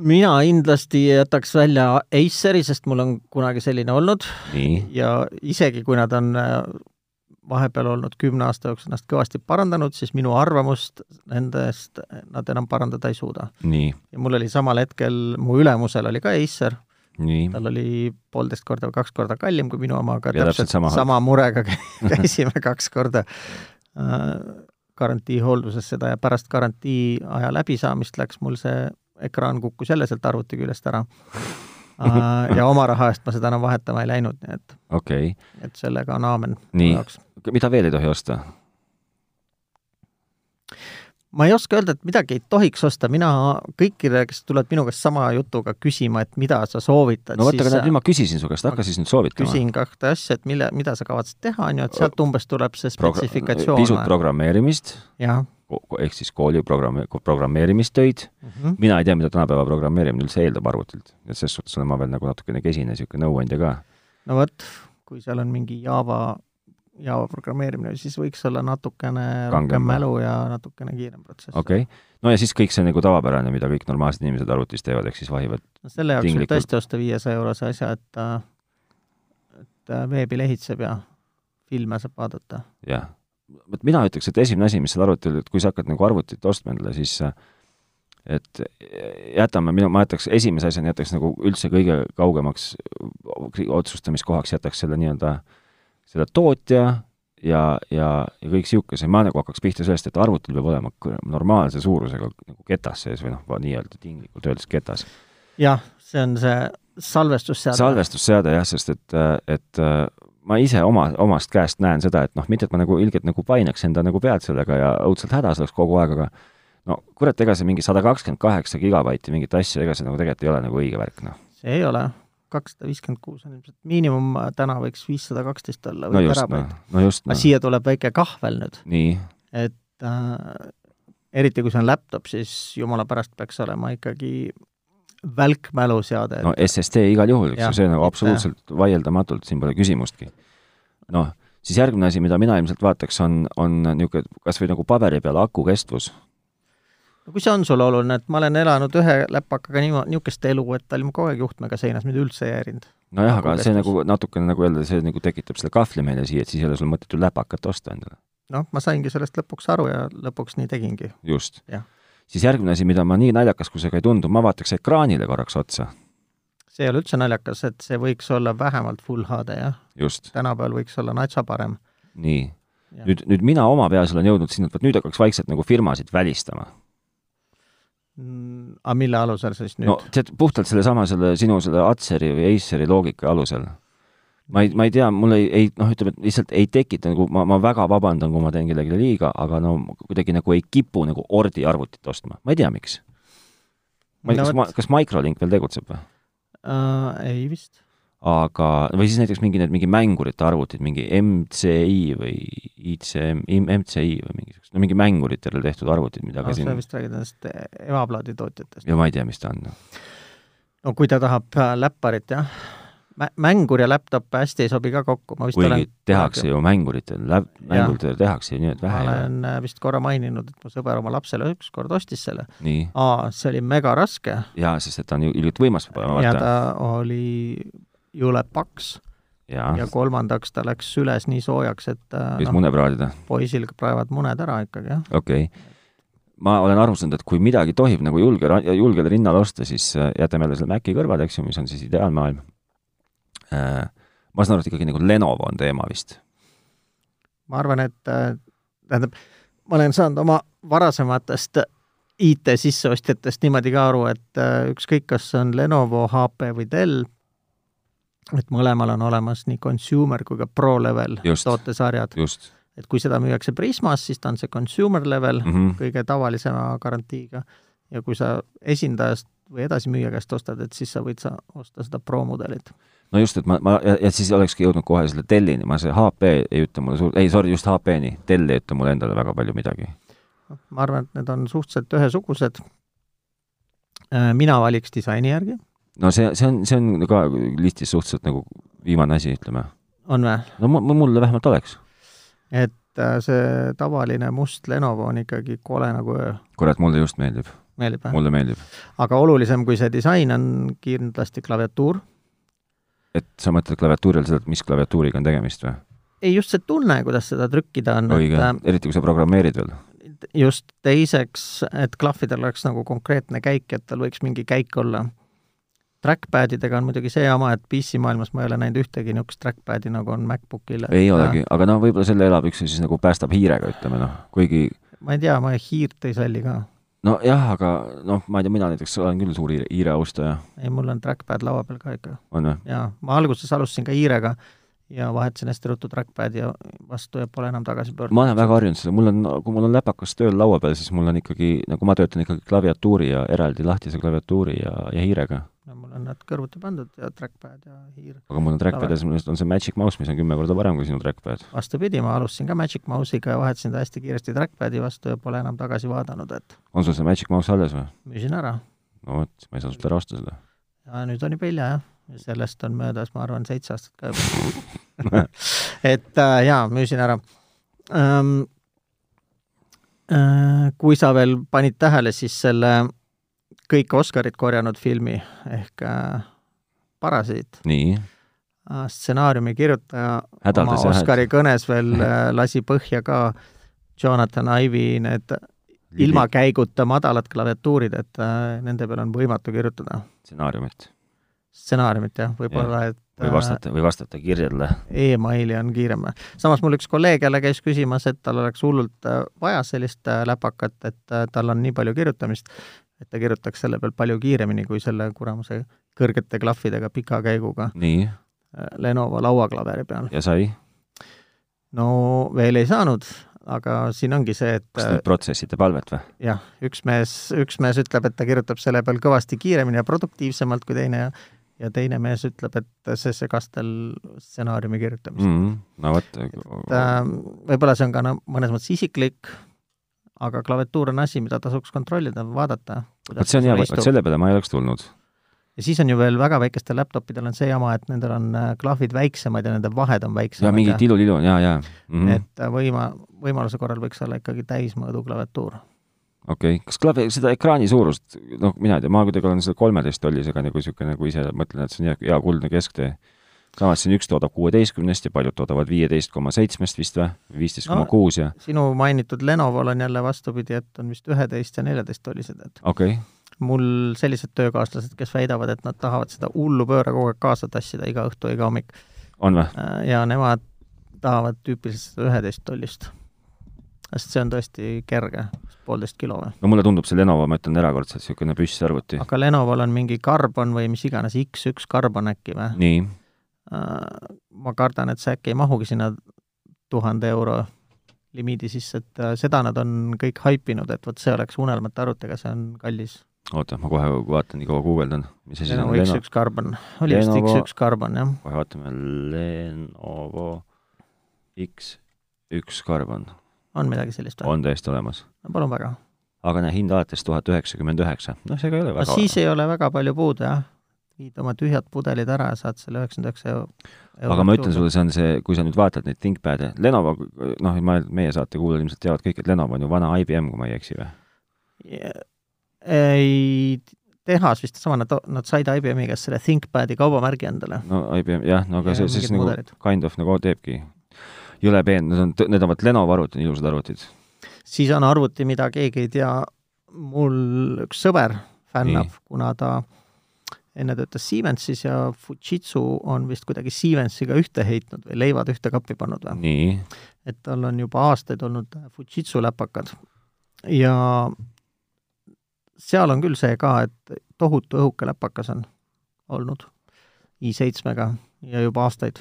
mina kindlasti jätaks välja Aceri , sest mul on kunagi selline olnud nii , ja isegi kui nad on äh, vahepeal olnud kümne aasta jooksul ennast kõvasti parandanud , siis minu arvamust nendest nad enam parandada ei suuda . nii , ja mul oli samal hetkel , mu ülemusel oli ka Acer , nii , tal oli poolteist korda või kaks korda kallim kui minu oma , aga Ja täpselt täpselt sama- sama, sama murega käisime kaks korda äh, garantiihoolduses seda ja pärast garantii aja läbisaamist läks mul see ekraan kukkus jälle sealt arvuti küljest ära Äh, ja oma raha eest ma seda enam vahetama ei läinud , nii et okei okay. , et sellega on aamen Nii. minu jaoks . mida veel ei tohi osta ? ma ei oska öelda , et midagi ei tohiks osta , mina kõikidele , kes tulevad minu käest sama jutuga küsima , et mida sa soovitad , no vot , aga näed , siis äh, nüüd ma küsisin su käest , hakka siis nüüd soovitama . küsin kahte asja , et mille , mida sa kavatsed teha , on ju , et sealt umbes tuleb see pisut spetsifikatsioon . programmeerimist , jah , ehk siis kooli programme- , programmeerimistöid , Mhm. mina ei tea , mida tänapäeva programmeerimine üldse eeldab arvutilt , et ses suhtes olen ma veel nagu natukene kesine niisugune nõuandja ka . no vot , kui seal on mingi Java , Java programmeerimine , siis võiks olla natukene Kangem. rohkem mälu ja natukene kiirem protsess . okei okay. , no ja siis kõik see nagu tavapärane , mida kõik normaalsed inimesed arvutis teevad , ehk siis vahivad no selle jaoks võib Tinglikult. tõesti osta viiesaja eurose asja , et ta , et ta veebilehitseb ja filme saab vaadata . jah , vot mina ütleks , et esimene asi , mis seal arvutil , et kui sa hakkad nagu arvutit ostma endale , siis äh, et jätame, minu, ma jätaks esimese asjana, jätaks nagu üldse kõige kaugemaks äh, otsustamiskohaks, jätaks selle nii-öelda, selle tootja ja, ja, ja kõik niisuguse, ma nagu hakkaks pihta sellest, et arvutil peab olema normaalse suurusega nagu ketas sees või noh, nii-öelda tinglikult öeldes ketas. jah, see on see salvestusseade. salvestusseade jah, sest et, et äh, ma ise oma, omast käest näen seda, et noh, mitte et ma nagu ilgelt nagu painaks enda nagu pead sellega ja õudselt hädas oleks kogu aeg, aga no kurat, ega see mingi sada kakskümmend kaheksa gigabaiti mingit asja, ega see nagu tegelikult ei ole nagu õige värk, noh. see ei ole, kakssada viiskümmend kuus on ilmselt miinimum, täna võiks viissada kaksteist olla no just, noh, no just, noh. siia tuleb väike kahvel nüüd. nii. et äh, eriti, kui see on laptop, siis jumala pärast peaks olema ikkagi välkmäluseade. no SSD igal juhul, eks ju, see nagu absoluutselt vaieldamatult, siin pole küsimustki. noh, siis järgmine asi, mida mina ilmselt vaataks, on, on niisugune kas või nagu paberi peal aku kestvus. no kui see on sulle oluline, et ma olen elanud ühe läpakaga niimoodi, niisugust elu, et ta oli mul kogu aeg juhtmega seinas, mind üldse ei häirinud. nojah, aga kestvus. see nagu natukene nagu öelda, see nagu tekitab selle kahvli meile siia, et siis ei ole sul mõtet ju läpakat osta endale. noh, ma saingi sellest lõpuks aru ja lõpuks nii tegingi. just. jah siis järgmine asi, mida ma nii naljakas, kui see ka ei tundu, ma vaataks ekraanile korraks otsa. see ei ole üldse naljakas, et see võiks olla vähemalt full HD, jah. tänapäeval võiks olla natsa parem. nii. nüüd, nüüd mina oma peas olen jõudnud sinna, et vot nüüd hakkaks vaikselt nagu firmasid välistama mm,. aga mille alusel siis nüüd? no tead, puhtalt sellesama, selle sinu selle Atseri või Aceri loogika alusel ma ei, ma ei tea, mul ei, ei noh, ütleme, et lihtsalt ei tekita nagu, ma, ma väga vabandan, kui ma teen kellelegi liiga, aga no kuidagi nagu ei kipu nagu ordi arvutit ostma, ma ei tea, miks. ma ei tea no,, kas, kas Microlink veel tegutseb või uh,? ei vist. aga, või siis näiteks mingi need, mingi mängurite arvutid, mingi MCI või ICM, MCI või mingisugused, no mingi mänguritele tehtud arvutid, mida no, ka siin sa vist räägid nendest emaplaaditootjatest. ja ma ei tea, mis ta on. noh. no kui ta tahab läpparit, jah mängur ja laptop hästi ei sobi ka kokku, ma vist kuigi olen... tehakse ju mänguritel, mänguritel tehakse ju nii, et vähe. ma olen äh, vist korra maininud, et mu sõber oma lapsele ükskord ostis selle. aa, see oli mega raske. jaa, sest et ta on ju ilgelt võimas peab olema. ja ta oli jõle paks. Ja. ja kolmandaks ta läks süles nii soojaks, et äh, noh, võis no, mune praadida? poisil praevad muned ära ikkagi, jah. okei okay. ma olen aru saanud, et kui midagi tohib nagu julge, julgel rinnal osta, siis äh, jätame jälle selle Maci kõrvale, eks ju, mis on siis ideaalmaailm Äh, ma saan aru, et ikkagi nagu Lenovo on teema vist? ma arvan, et äh, tähendab, ma olen saanud oma varasematest IT-sisseostjatest niimoodi ka aru, et äh, ükskõik, kas see on Lenovo, HP või Dell, et mõlemal on olemas nii consumer kui ka pro-level tootesarjad. et kui seda müüakse Prismas, siis ta on see consumer level mm Mhm. -hmm. kõige tavalisema garantiiga ja kui sa esindajast või edasimüüja käest ostad, et siis sa võid sa osta seda pro-mudelit no just, et ma, ma ja, ja siis olekski jõudnud kohe selle Dellini, ma see HP ei ütle mulle suur, ei sorry, just HP-ni, Dell ei ütle mulle endale väga palju midagi. ma arvan, et need on suhteliselt ühesugused. Äh, mina valiks disaini järgi. no see, see on, see on ka listis suhteliselt nagu viimane asi, ütleme. on või? no mulle vähemalt oleks. et äh, see tavaline must Lenovo on ikkagi kole nagu öö. kurat, mulle just meeldib. meeldib või? mulle meeldib. aga olulisem kui see disain on kindlasti klaviatuur et sa mõtled klaviatuuril seda, et mis klaviatuuriga on tegemist või? ei, just see tunne, kuidas seda trükkida on. äh, õige, eriti kui sa programmeerid veel. just, teiseks, et klahvidel oleks nagu konkreetne käik, et tal võiks mingi käik olla. Trackpad idega on muidugi see jama, et PC maailmas ma ei ole näinud ühtegi niisugust trackpadi, nagu on MacBookil. ei et... olegi, aga noh, võib-olla selle elab üks siis nagu päästab hiirega, ütleme noh, kuigi äh, ma ei tea, ma hiirt ei salli ka nojah, aga noh, ma ei tea, mina näiteks olen küll suur hiire, hiire austaja. ei, mul on trackpad laua peal ka ikka. on või? jaa, ma alguses alustasin ka hiirega ja vahetasin hästi ruttu trackpad'i vastu ja pole enam tagasi pöördunud. ma olen väga harjunud seda, mul on, kui mul on läpakas tööl laua peal, siis mul on ikkagi, nagu ma töötan ikkagi klaviatuuri ja eraldi lahtise klaviatuuri ja, ja hiirega. no mul on nad kõrvuti pandud ja trackpad ja hiir. aga mul on trackpad ja siis on see Magic Mouse, mis on kümme korda parem kui sinu trackpad. vastupidi, ma alustasin ka Magic Mouse'iga ja vahetasin ta hästi kiiresti trackpad'i vastu ja pole enam tagasi vaadanud, et on sul see Magic Mouse alles või? müüsin ära. no vot, ma ei saanud ära osta seda. ja nüüd on juba hilja, jah sellest on möödas, ma arvan, seitse aastat ka juba et äh, jaa, müüsin ära ähm,. Äh, kui sa veel panid tähele, siis selle kõik Oscarid korjanud filmi ehk äh, Parasiit. nii äh,. stsenaariumi kirjutaja Hädaldas oma Oscari häd. kõnes veel äh, lasi põhja ka Jonathan Ive'i need ilma käiguta madalad klaviatuurid, et äh, nende peal on võimatu kirjutada stsenaariumit stsenaariumit, jah, võib-olla et või vastata või vastata kirjale. äh, emaili on kiirem. samas mul üks kolleeg jälle käis küsimas, et tal oleks hullult äh, vaja sellist äh, läpakat, et äh, tal on nii palju kirjutamist, et ta kirjutaks selle peal palju kiiremini kui selle kuramuse kõrgete klahvidega pika käiguga nii, äh, Lenovo lauaklaveri peal. ja sai. no veel ei saanud, aga siin ongi see, et kas äh, te protsessite palvet või? jah, üks mees, üks mees ütleb, et ta kirjutab selle peal kõvasti kiiremini ja produktiivsemalt kui teine ja ja teine mees ütleb, et see segas tal stsenaariumi kirjutamist mm. . -hmm. no vot et äh, võib-olla see on ka no, mõnes mõttes isiklik, aga klaviatuur on asi, mida tasuks kontrollida, vaadata . vot see on hea , vot selle peale ma ei oleks tulnud . ja siis on ju veel väga väikestel laptopidel on see jama, et nendel on äh, klahvid väiksemad ja nende vahed ja on mingi väiksemad . tilulilu on ja , ja mm -hmm. et äh, võima , võimaluse korral võiks olla ikkagi täismõõdu klaviatuur okei okay. , kas klavi , seda ekraani suurust , noh , mina ei tea , ma kuidagi olen selle kolmeteist tollisega nagu niisugune , nagu ise mõtlen , et see on hea, hea kuldne kesktee . samas siin üks toodab kuueteistkümnest ja paljud toodavad viieteist koma seitsmest vist või , viisteist koma kuus ja sinu mainitud Lenovol on jälle vastupidi , et on vist üheteist ja neljateist tollised , et okei okay. , mul sellised töökaaslased , kes väidavad , et nad tahavad seda hullu pööra kogu aeg kaasa tassida iga õhtu , iga hommik on või ? Äh, ja nemad tahavad tüüpiliselt seda üheteist tollist . sest see on tõesti kerge , poolteist kilo või . no mulle tundub see Lenovo , ma ütlen erakordselt niisugune püssarvuti . aga Lenovol on mingi karbon või mis iganes , X1 karbon äkki või ? nii , ma kardan , et see äkki ei mahugi sinna tuhande euro limiidi sisse , et äh, seda nad on kõik haipinud , et vot see oleks unelmate arvutiga , see on kallis oota , ma kohe vaatan , nii kaua guugeldan , mis asi see Lenovo on , Lenovo , X1 Carbon , oli vist Lenovo- X1 Carbon jah , kohe vaatame , Lenovo X1 Carbon on midagi sellist või ? on täiesti olemas . palun väga . aga näe , hind alates tuhat üheksakümmend üheksa , noh , see ka ei ole no väga siis ei ole väga palju puudu jah , viid oma tühjad pudelid ära ja saad selle üheksakümmend üheksa eurot aga ma ütlen . sulle , see on see , kui sa nüüd vaatad neid ThinkPad'e , Lenovo , noh , ma , meie saate kuulajad ilmselt teavad kõik , et Lenovo on ju vana IBM , kui ma ei eksi või ? ei , tehas vist sama , nad , nad said IBM-i käest selle ThinkPadi kaubamärgi endale . no IBM , jah , no aga Ja see siis mingid nagu mudelid. kind of nagu teebki jõle peen , need on , need on vot Lenovo arvutid , ilusad arvutid . siis on arvuti , mida keegi ei tea , mul üks sõber fännab Nii. , kuna ta enne töötas Siemensis ja Fujitsu on vist kuidagi Siemensiga ühte heitnud või leivad ühte kappi pannud või ? nii , et tal on juba aastaid olnud Fujitsu läpakad ja seal on küll see ka , et tohutu õhuke läpakas on olnud i7-ga ja juba aastaid .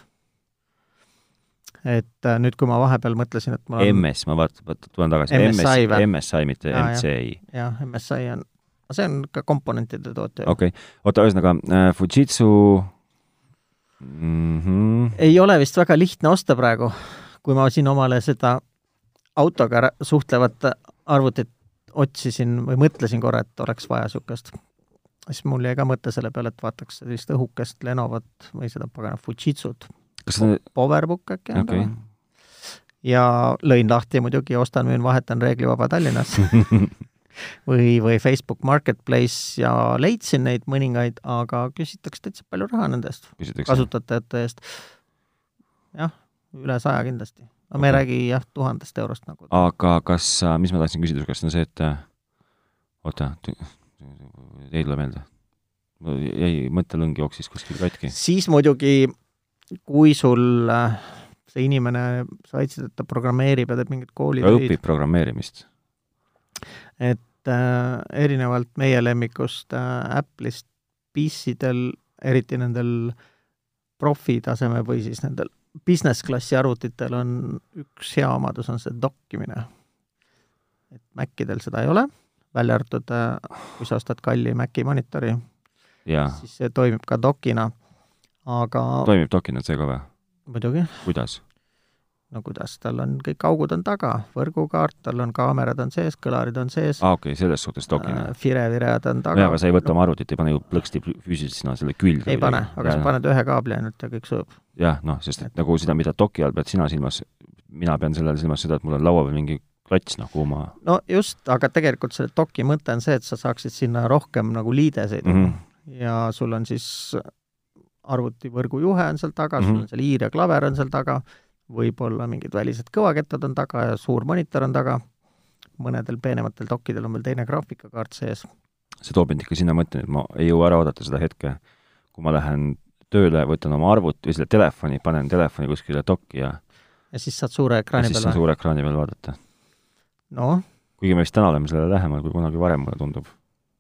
et äh, nüüd , kui ma vahepeal mõtlesin , et ma olen MS , ma vaatan , vaata , tulen tagasi , MSI MS või? , MSI , mitte Jaa, jah. MCI . jah , MSI on , see on ka komponentide tootja okay. . okei , oota , ühesõnaga äh, Fujitsu mm -hmm. ei ole vist väga lihtne osta praegu , kui ma siin omale seda autoga rä- suhtlevat arvutit otsisin või mõtlesin korra , et oleks vaja niisugust , siis mul jäi ka mõte selle peale , et vaataks sellist õhukest Lenovat või seda pagana Fujitsut , kas see , Powerbook äkki on okei okay. , ja lõin lahti muidugi , ostan , müün , vahetan reeglivaba Tallinnas . või , või Facebook Marketplace ja leidsin neid mõningaid , aga küsitakse täitsa palju raha nende eest . küsitakse . kasutajate eest jah , üle saja kindlasti . aga me ei Okei. räägi jah , tuhandest eurost nagu . aga kas , mis ma tahtsin küsida , kas see on see , et äh, oota , ei tule meelde . mul jäi mõttelõng jooksis kuskil katki . siis muidugi , kui sul äh, see inimene , sa väitsid , et ta programmeerib ja teeb mingeid ta koolitöid , õpib programmeerimist . et äh, erinevalt meie lemmikust äh, Apple'ist PC-del , eriti nendel profitaseme või siis nendel business klassi arvutitel on üks hea omadus , on see dokkimine . et Macidel seda ei ole , välja arvatud äh, , kui sa ostad kalli Maci monitori , jaa , siis see toimib ka dokina , aga toimib dokina see ka või ? muidugi , kuidas ? no kuidas , tal on kõik augud on taga , võrgukaart , tal on kaamerad on sees , kõlarid on sees , aa , okei , selles suhtes Ah, Äh, dokina . fire-viread on taga jaa , aga sa ei võta oma arvutit , ei pane ju plõksti füüsiliselt sinna selle külge . ei pane , aga sa . paned ühe kaabli ainult ja kõik sujub . jah , noh , sest et nagu seda , mida doki all pead sina silmas , mina pean selle all silmas seda , et mul on laua peal mingi klats noh , kuhu ma no just , aga tegelikult selle doki mõte on see , et sa saaksid sinna rohkem nagu liideseid mm . -hmm. ja sul on siis arvutivõrgujuhe on seal taga mm , -hmm. Mhm. sul on seal hiir ja klaver on seal taga , võib-olla mingid välised kõvakettad on taga ja suur monitor on taga , mõnedel peenematel dokidel on veel teine graafikakaart sees. see toob mind ikka sinna mõtteni, et ma ei jõua ära oodata seda hetke, kui ma lähen tööle, võtan oma arvuti või selle telefoni, panen telefoni kuskile dokki ja ja siis saad suure ja ekraani siis peal saan . suure ekraani peal vaadata. noh , kuigi me vist täna oleme sellele lähemal kui kunagi varem, mulle tundub.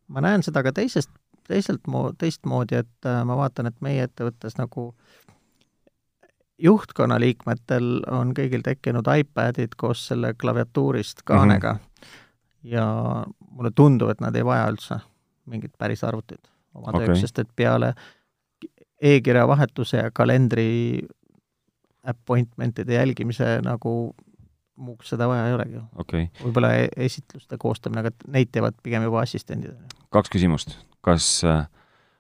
ma näen seda ka teisest , teiselt mo- , teistmoodi , et äh, ma vaatan , et meie ettevõttes nagu juhtkonna liikmetel on kõigil tekkinud iPadid koos selle klaviatuurist kaanega mm -hmm. ja mulle tundub , et nad ei vaja üldse mingit päris arvutit oma okay. Okei. tööks , sest et peale e-kirja vahetuse ja kalendri appointment'ide jälgimise nagu muuks seda vaja ei olegi ju . okei okay. , võib-olla e- esitluste koostamine , aga neid teevad pigem juba assistendid , on ju . kaks küsimust. kas ,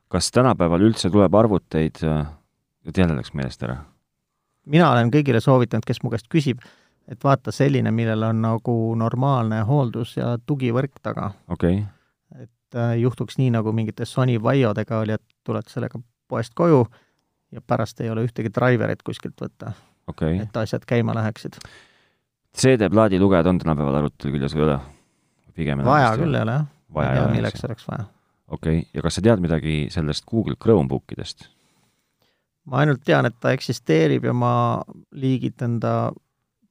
kas tänapäeval üldse tuleb arvuteid , et jälle läks meelest ära? mina olen kõigile soovitanud , kes mu käest küsib , et vaata selline , millel on nagu normaalne hooldus ja tugivõrk taga . okei okay. , et äh, juhtuks nii , nagu mingite Sony Vaiodega oli , et tuled sellega poest koju ja pärast ei ole ühtegi driverit kuskilt võtta , okei okay. . et asjad käima läheksid . CD-plaadi lugejad on tänapäeval arvutil küljes või ei ole ? pigem vaja küll . ei ole jah , ma vaja ei ei tea , ole , eks milleks oleks vaja . okei okay. , ja kas sa tead midagi sellest Google Chromebook idest ? ma ainult tean , et ta eksisteerib ja ma liigitan ta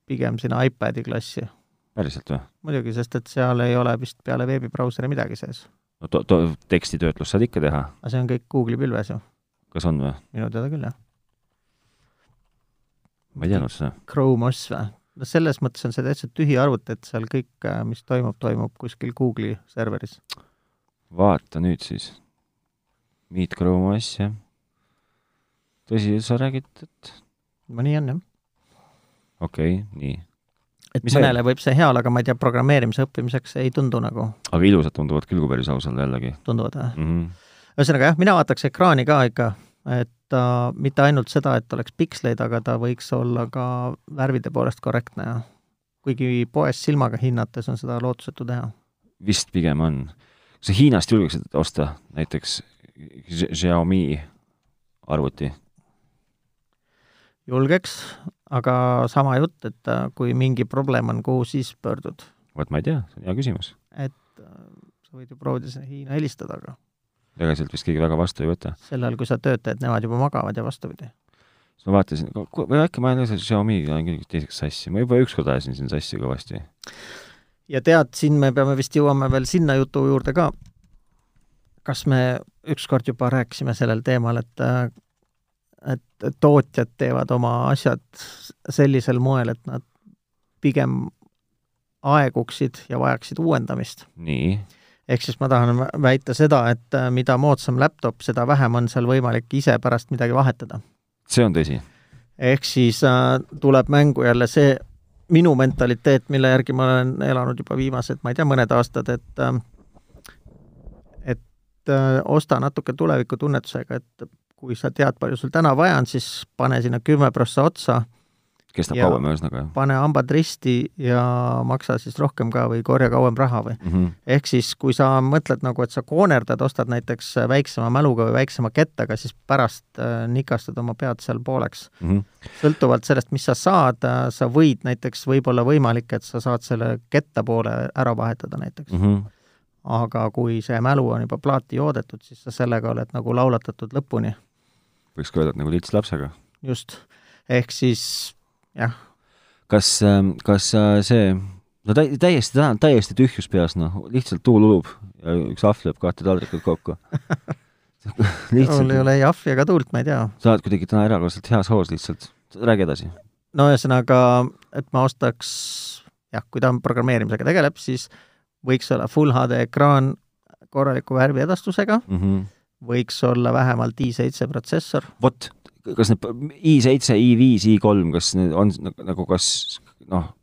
pigem sinna iPadi klassi . päriselt või ? muidugi , sest et seal ei ole vist peale veebibrauseri midagi sees . no to- , to- , tekstitöötlust saad ikka teha , aga see on kõik Google'i pilves ju , kas on või ? minu teada küll , jah . ma ei teadnud seda . Chrome OS või ? no selles mõttes on see täitsa tühi arvuti , et seal kõik , mis toimub , toimub kuskil Google'i serveris . vaata nüüd siis . Meet Chrome OS , jah . tõsi , sa räägid , et no nii on jah . okei okay, , nii . et Mis Mis mõnele võib see hea olla , aga ma ei tea , programmeerimise õppimiseks ei tundu nagu , aga ilusad tunduvad küll , kui päris aus olla jällegi tunduvad või ? mm . -hmm. ühesõnaga jah , mina vaataks ekraani ka ikka , et ta äh, mitte ainult seda , et oleks piksleid , aga ta võiks olla ka värvide poolest korrektne ja kuigi poes silmaga hinnates on seda lootusetu teha . vist pigem on . kas sa Hiinast julgeksid osta näiteks X- Xiaomi arvuti ? julgeks , aga sama jutt , et äh, kui mingi probleem on , kuhu siis pöördud ? vot ma ei tea , see on hea küsimus . et äh, sa võid ju proovida sinna Hiina helistada , aga ega sealt vist keegi väga vastu ei võta . sel ajal , kui sa tööd teed , nemad juba magavad ja vastupidi . siis ma vaatasin , või äkki ma olen selle Xiaomi'ga olen küll teiseks sassi , ma juba ükskord ajasin siin sassi kõvasti . ja tead , siin me peame vist jõuame veel sinna jutu juurde ka . kas me ükskord juba rääkisime sellel teemal , et äh, et tootjad teevad oma asjad sellisel moel , et nad pigem aeguksid ja vajaksid uuendamist ? nii , ehk siis ma tahan vä- väita seda , et äh, mida moodsam laptop , seda vähem on seal võimalik ise pärast midagi vahetada . see on tõsi . ehk siis äh, tuleb mängu jälle see minu mentaliteet , mille järgi ma olen elanud juba viimased , ma ei tea , mõned aastad , et äh, et äh, osta natuke tulevikutunnetusega , et kui sa tead , palju sul täna vaja on , siis pane sinna kümme prossa otsa , kestab Jaa. kauem ühesõnaga , jah pane hambad risti ja maksa siis rohkem ka või korja kauem raha või . mm -hmm. ehk siis , kui sa mõtled nagu , et sa koonerdad , ostad näiteks väiksema mäluga või väiksema kettaga , siis pärast äh, nikastad oma pead seal pooleks . Mm -hmm. sõltuvalt sellest , mis sa saad , sa võid näiteks , võib-olla võimalik , et sa saad selle kettapoole ära vahetada näiteks Mm . -hmm. aga kui see mälu on juba plaati joodetud , siis sa sellega oled nagu laulatatud lõpuni , võiks ka öelda , et nagu lits lapsega . just . ehk siis jah , kas , kas äh, see , no tä- , täiesti , täiesti tühjus peas , noh , lihtsalt tuul ulub ja üks ahv lööb kahte taldrikut kokku . mul ei lihtsalt , ole ei ahvi ega tuult , ma ei tea . sa oled kuidagi täna erakordselt heas hoos lihtsalt , räägi edasi . no ühesõnaga , et ma ostaks jah , kui ta programmeerimisega tegeleb , siis võiks olla full HD ekraan korraliku värviedastusega , Mm -hmm. võiks olla vähemalt i7 protsessor , vot , kas need i7 , i5 , i3 , kas need on s- nagu- nagu , kas noh ,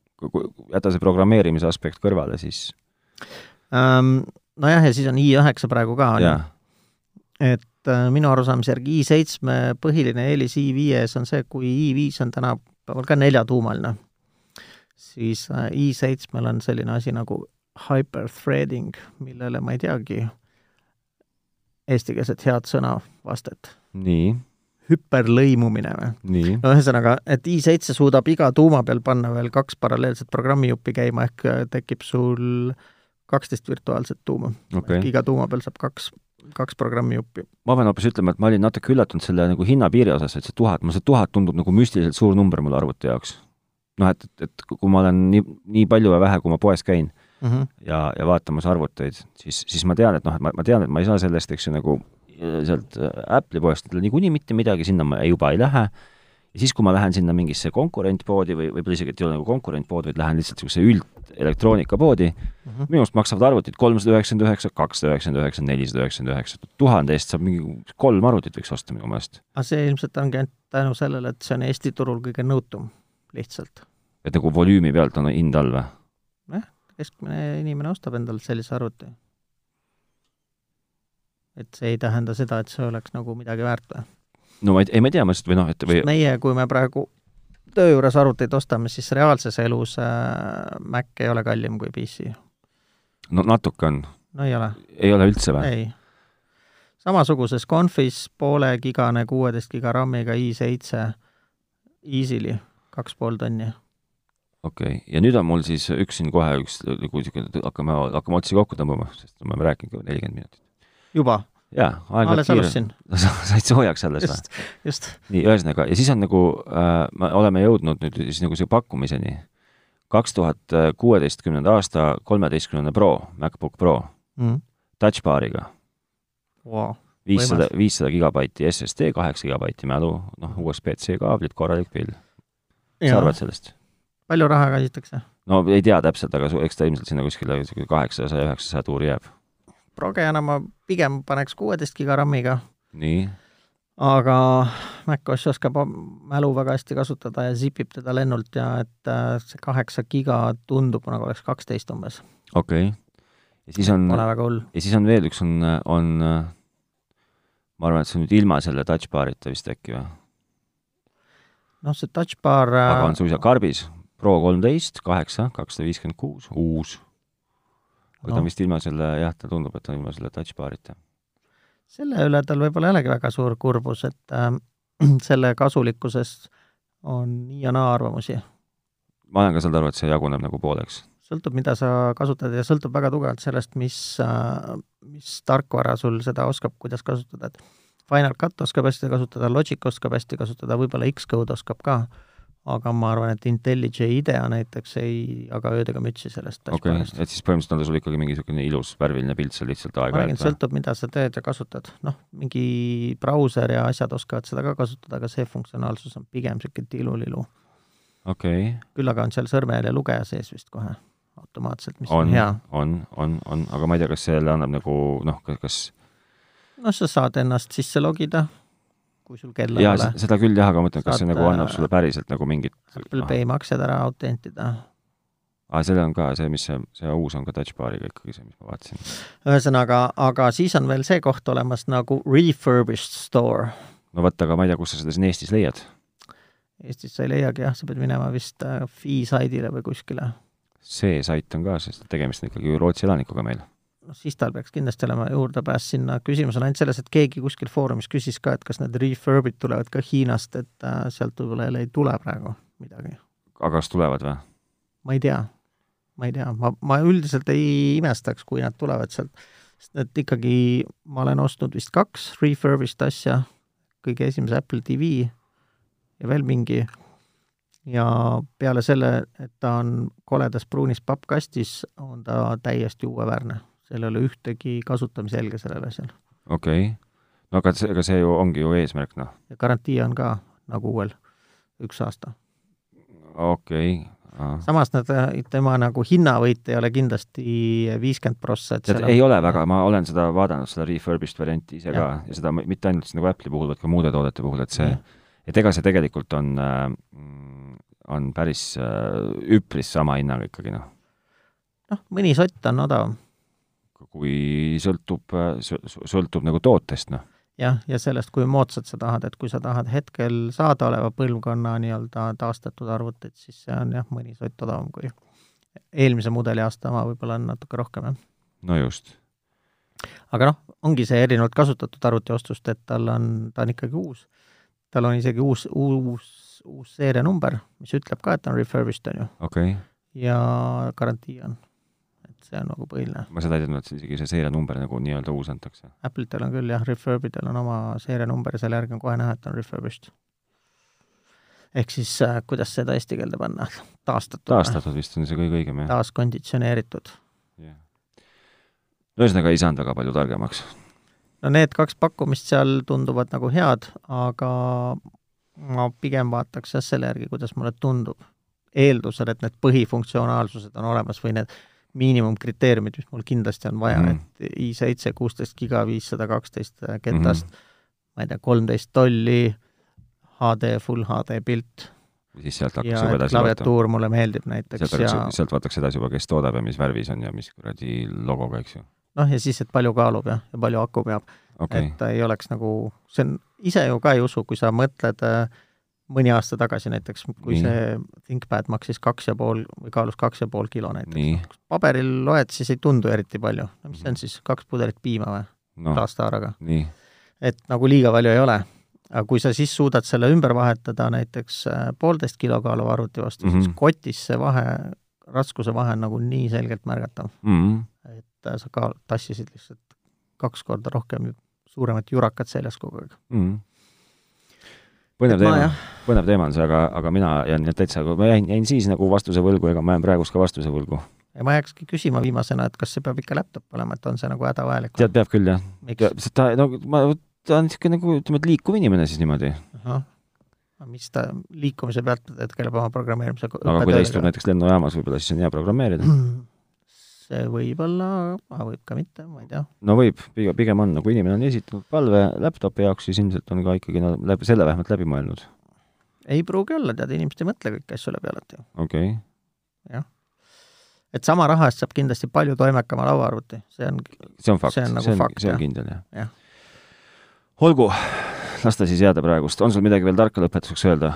jäta see programmeerimise aspekt kõrvale , siis nojah , ja siis on i9 praegu ka , on ju jaa , et äh, minu arusaamise järgi i7 põhiline eelis i5-s on see , kui i5 on tänapäeval ka neljatuumaline , siis äh, i7-l on selline asi nagu hyperthreading , millele ma ei teagi eestikeelset head sõna vastet . nii , hüperlõimumine või ? nii no ühesõnaga , et i7 suudab iga tuuma peal panna veel kaks paralleelset programmijuppi käima , ehk äh, tekib sul kaksteist virtuaalset tuuma . okei okay. , iga tuuma peal saab kaks , kaks programmijuppi . ma pean hoopis ütlema , et ma olin natuke üllatunud selle nagu hinnapiiri osas , et see tuhat , mulle see tuhat tundub nagu müstiliselt suur number mulle arvuti jaoks . noh , et , et kui ma olen nii , nii palju ja vähe , kui ma poes käin Mm -hmm. ja , ja vaatamas arvuteid , siis , siis ma tean , et noh , et ma , ma tean , et ma ei saa sellest , eks ju , nagu äh, sealt äh, Apple'i poest niikuinii mitte midagi , sinna ma juba ei lähe , ja siis , kui ma lähen sinna mingisse konkurentpoodi või võib-olla isegi , et ei ole nagu konkurentpood , vaid lähen lihtsalt niisuguse üldelektroonikapoodi mm , Mhm. -hmm. minu arust maksavad arvutid kolmsada üheksakümmend üheksa , kakssada üheksakümmend üheksa , nelisada üheksakümmend üheksa , tuhande eest saab mingi kolm arvutit võiks osta minu meelest . aga see ilmselt ongi ainult tänu sellele , et see on Eesti turul kõige nõutum lihtsalt . et nagu volüümi pealt on hind all või ? keskmine inimene ostab endale sellise arvuti . et see ei tähenda seda , et see oleks nagu midagi väärt või ? no ma ei , ei ma ei tea , ma lihtsalt või noh , et või sest meie , kui me praegu töö juures arvuteid ostame , siis reaalses elus äh, Mac ei ole kallim kui PC . no natuke on , no ei ole , ei ole üldse või ? ei . samasuguses Confis poolegigane kuueteist giga RAM-iga i7 Easily , kaks pool tonni . okei okay. , ja nüüd on mul siis üks siin kohe üks nagu niisugune , hakkame , hakkame otsi kokku tõmbama , sest me oleme rääkinud juba nelikümmend minutit . juba , jaa , aeg läheb alles kiirelt . alustasin , said soojaks alles või ? just , just . nii , ühesõnaga , ja siis on nagu äh, , me oleme jõudnud nüüd siis nagu selle pakkumiseni . kaks tuhat kuueteistkümnenda aasta kolmeteistkümnenda Pro , MacBook Pro , touch bar'iga , Wow. viissada , viissada gigabaiti SSD , kaheksa gigabaiti mälu , noh , USB-C kaablid , korralik pill . mis sa arvad sellest ? palju raha kasitakse ? no ei tea täpselt , aga su- eks ta ilmselt sinna kuskile kaheksasaja , üheksasaja tuuri jääb . progejana ma pigem paneks kuueteist giga RAM-iga , nii aga MacOS oskab am- mälu väga hästi kasutada ja zipib teda lennult ja et äh, see kaheksa giga tundub nagu oleks kaksteist umbes , okei okay. . ja siis on , pole väga hull . ja siis on veel üks , on , on ma arvan , et see on nüüd ilma selle touch bar'ita vist äkki või ? noh , see touch bar aga on suisa karbis , Pro kolmteist , kaheksa , kakssada viiskümmend kuus , uus . aga no. ta No. on vist ilma selle , jah , ta tundub , et ta on ilma selle touch bar'ita . selle üle tal võib-olla ei olegi väga suur kurbus , et äh, selle kasulikkuses on nii ja naa arvamusi . ma olen ka saanud aru , et see jaguneb nagu pooleks . sõltub , mida sa kasutad ja sõltub väga tugevalt sellest , mis , mis tarkvara sul seda oskab , kuidas kasutada , et Final Cut oskab hästi kasutada , Logic oskab hästi kasutada , võib-olla Xcode oskab ka , aga ma arvan , et IntelliJ IDEA näiteks ei jaga ööd ega mütsi sellest okei okay. , touchbar'ist. et siis põhimõtteliselt on ta sul ikkagi mingi niisugune ilus värviline pilt seal lihtsalt ma räägin , aeg-ajalt või ? sõltub , mida sa teed ja kasutad , noh , mingi brauser ja asjad oskavad seda ka kasutada , aga see funktsionaalsus on pigem niisugune tilulilu . okei okay. , küll aga on seal sõrmehääle lugeja sees vist kohe automaatselt , mis on, on on hea ., on , on , on , aga ma ei tea , kas selle annab nagu noh , kas noh , sa saad ennast sisse logida , kui sul kella ei jaa , ole . seda küll jah , aga ma mõtlen , kas see Saad, nagu annab äh, sulle päriselt nagu mingit Apple Pay maksed ära autentida . aa , sellel on ka see , mis see , see uus on ka touch bar'iga ikkagi see , mis ma vaatasin . ühesõnaga , aga siis on veel see koht olemas nagu refurbished store . no vot , aga ma ei tea , kus sa seda siin Eestis leiad . Eestis sa ei leiagi jah , sa pead minema vist äh, Fee saidile või kuskile . see sait on ka , sest tegemist on ikkagi ju Rootsi elanikuga meil . noh , siis tal peaks kindlasti olema juurdepääs sinna , küsimus on ainult selles , et keegi kuskil foorumis küsis ka , et kas need refurb'id tulevad ka Hiinast , et äh, sealt võib-olla jälle ei tule praegu midagi . aga kas tulevad või ? ma ei tea , ma ei tea , ma , ma üldiselt ei imestaks , kui nad tulevad sealt , sest need ikkagi , ma olen ostnud vist kaks refurbished asja , kõige esimese Apple TV ja veel mingi , ja peale selle , et ta on koledas pruunis pappkastis , on ta täiesti uueväärne . seal ei ole ühtegi kasutamise jälge sellel asjal okei okay. . no aga see , aga see ju ongi ju eesmärk , noh . ja garantii on ka nagu uuel , üks aasta . okei okay. . samas nad , tema nagu hinnavõit ei ole kindlasti viiskümmend prossa , et tead , seal on ei ole väga , ma olen seda vaadanud , seda refurbished varianti ise ka Jah. ja seda m- mitte ainult siis nagu Apple'i puhul , vaid ka muude toodete puhul , et see Jah. , et ega see tegelikult on äh, , on päris äh, üpris sama hinnaga ikkagi , noh . noh , mõni sott on odavam kui sõltub , sõltub nagu tootest , noh . jah , ja sellest , kui moodsat sa tahad , et kui sa tahad hetkel saadaoleva põlvkonna nii-öelda taastatud arvutit , siis see on jah , mõni sott odavam kui eelmise mudeli aasta oma võib-olla on natuke rohkem , jah . no just . aga noh , ongi see erinevalt kasutatud arvutiostust , et tal on , ta on ikkagi uus , tal on isegi uus, uus, uus seerianumber, mis ütleb ka, et ta on refurbished, on ju, okei okay. , ja garantii on. et see on nagu põhiline. ma seda ei teadnud, et isegi see seerianumber nagu nii-öelda uus antakse . Apple'itel on küll jah , refurbidel on oma seerianumber ja selle järgi on kohe näha , et on refurbished . ehk siis äh, kuidas seda eesti keelde panna , taastatud , taastatud vist on see kõige õigem , jah taaskonditsioneeritud . yeah. . ühesõnaga ei saanud väga palju targemaks . no need kaks pakkumist seal tunduvad nagu head , aga ma pigem vaataks jah selle järgi , kuidas mulle tundub . eeldusel , et need põhifunktsionaalsused on olemas või need miinimumkriteeriumid , mis mul kindlasti on vaja Mhm. mm. , et i7 kuusteist giga viissada kaksteist ketast mm , -hmm. ma ei tea , kolmteist tolli , HD , full HD pilt Mhm. siis sealt hakkas ja juba et edasi vaatama . klaviatuur mulle meeldib näiteks sealt ja hakkas , sealt vaataks edasi juba , kes toodab ja mis värvis on ja mis kuradi logoga , eks ju . noh , ja siis , et palju kaalub ja , ja palju aku peab . okei okay. , et ta ei oleks nagu , see on , ise ju ka ei usu , kui sa mõtled äh, mõni aasta tagasi näiteks , kui Nii. nii. see ThinkPad maksis kaks ja pool või kaalus kaks ja pool kilo näiteks . nii , paberil loed , siis ei tundu eriti palju . no mis see Mhm. on siis , kaks pudelit piima või no. , noh , taastehaaraga ? nii , et nagu liiga palju ei ole . aga kui sa siis suudad selle ümber vahetada näiteks äh, poolteist kilo kaaluva arvuti vastu mm , -hmm. Mhm. siis kotis see vahe , raskuse vahe on nagu nii selgelt märgatav , Mhm. et äh, sa ka tassisid lihtsalt kaks korda rohkem suuremat jurakat seljas kogu aeg . Mm. põnev Et ma teema jah- , põnev teema on see , aga , aga mina jään nüüd täitsa , ma jäin , jäin siis nagu vastuse võlgu , ega ma jään praegust ka vastuse võlgu . ja ma jääkski küsima viimasena , et kas see peab ikka laptop olema , et on see nagu hädavajalik ? tead , peab küll jah , miks ? ta , no ma , ta on niisugune nagu ütleme , et liikuv inimene siis niimoodi , mis ta liikumise pealt ta tegeleb oma programmeerimise ko- aga kui ta istub õppetööga? näiteks lennujaamas , võib-olla siis on hea programmeerida . see võib olla , aga võib ka mitte , ma ei tea . no võib , pigem , pigem on , nagu inimene on esitanud palve laptopi jaoks , siis ilmselt on ka ikkagi nad läbi , selle vähemalt läbi mõelnud , ei pruugi olla , tead , inimesed ei mõtle kõiki asju läbi alati . okei okay. . et sama raha eest saab kindlasti palju toimekama lauaarvuti , see on , see on fakt , See on nagu see on, fakt, see on jah. kindel jah ja. Jah. . olgu , las ta siis jääda praegust , on sul midagi veel tarka lõpetuseks öelda ?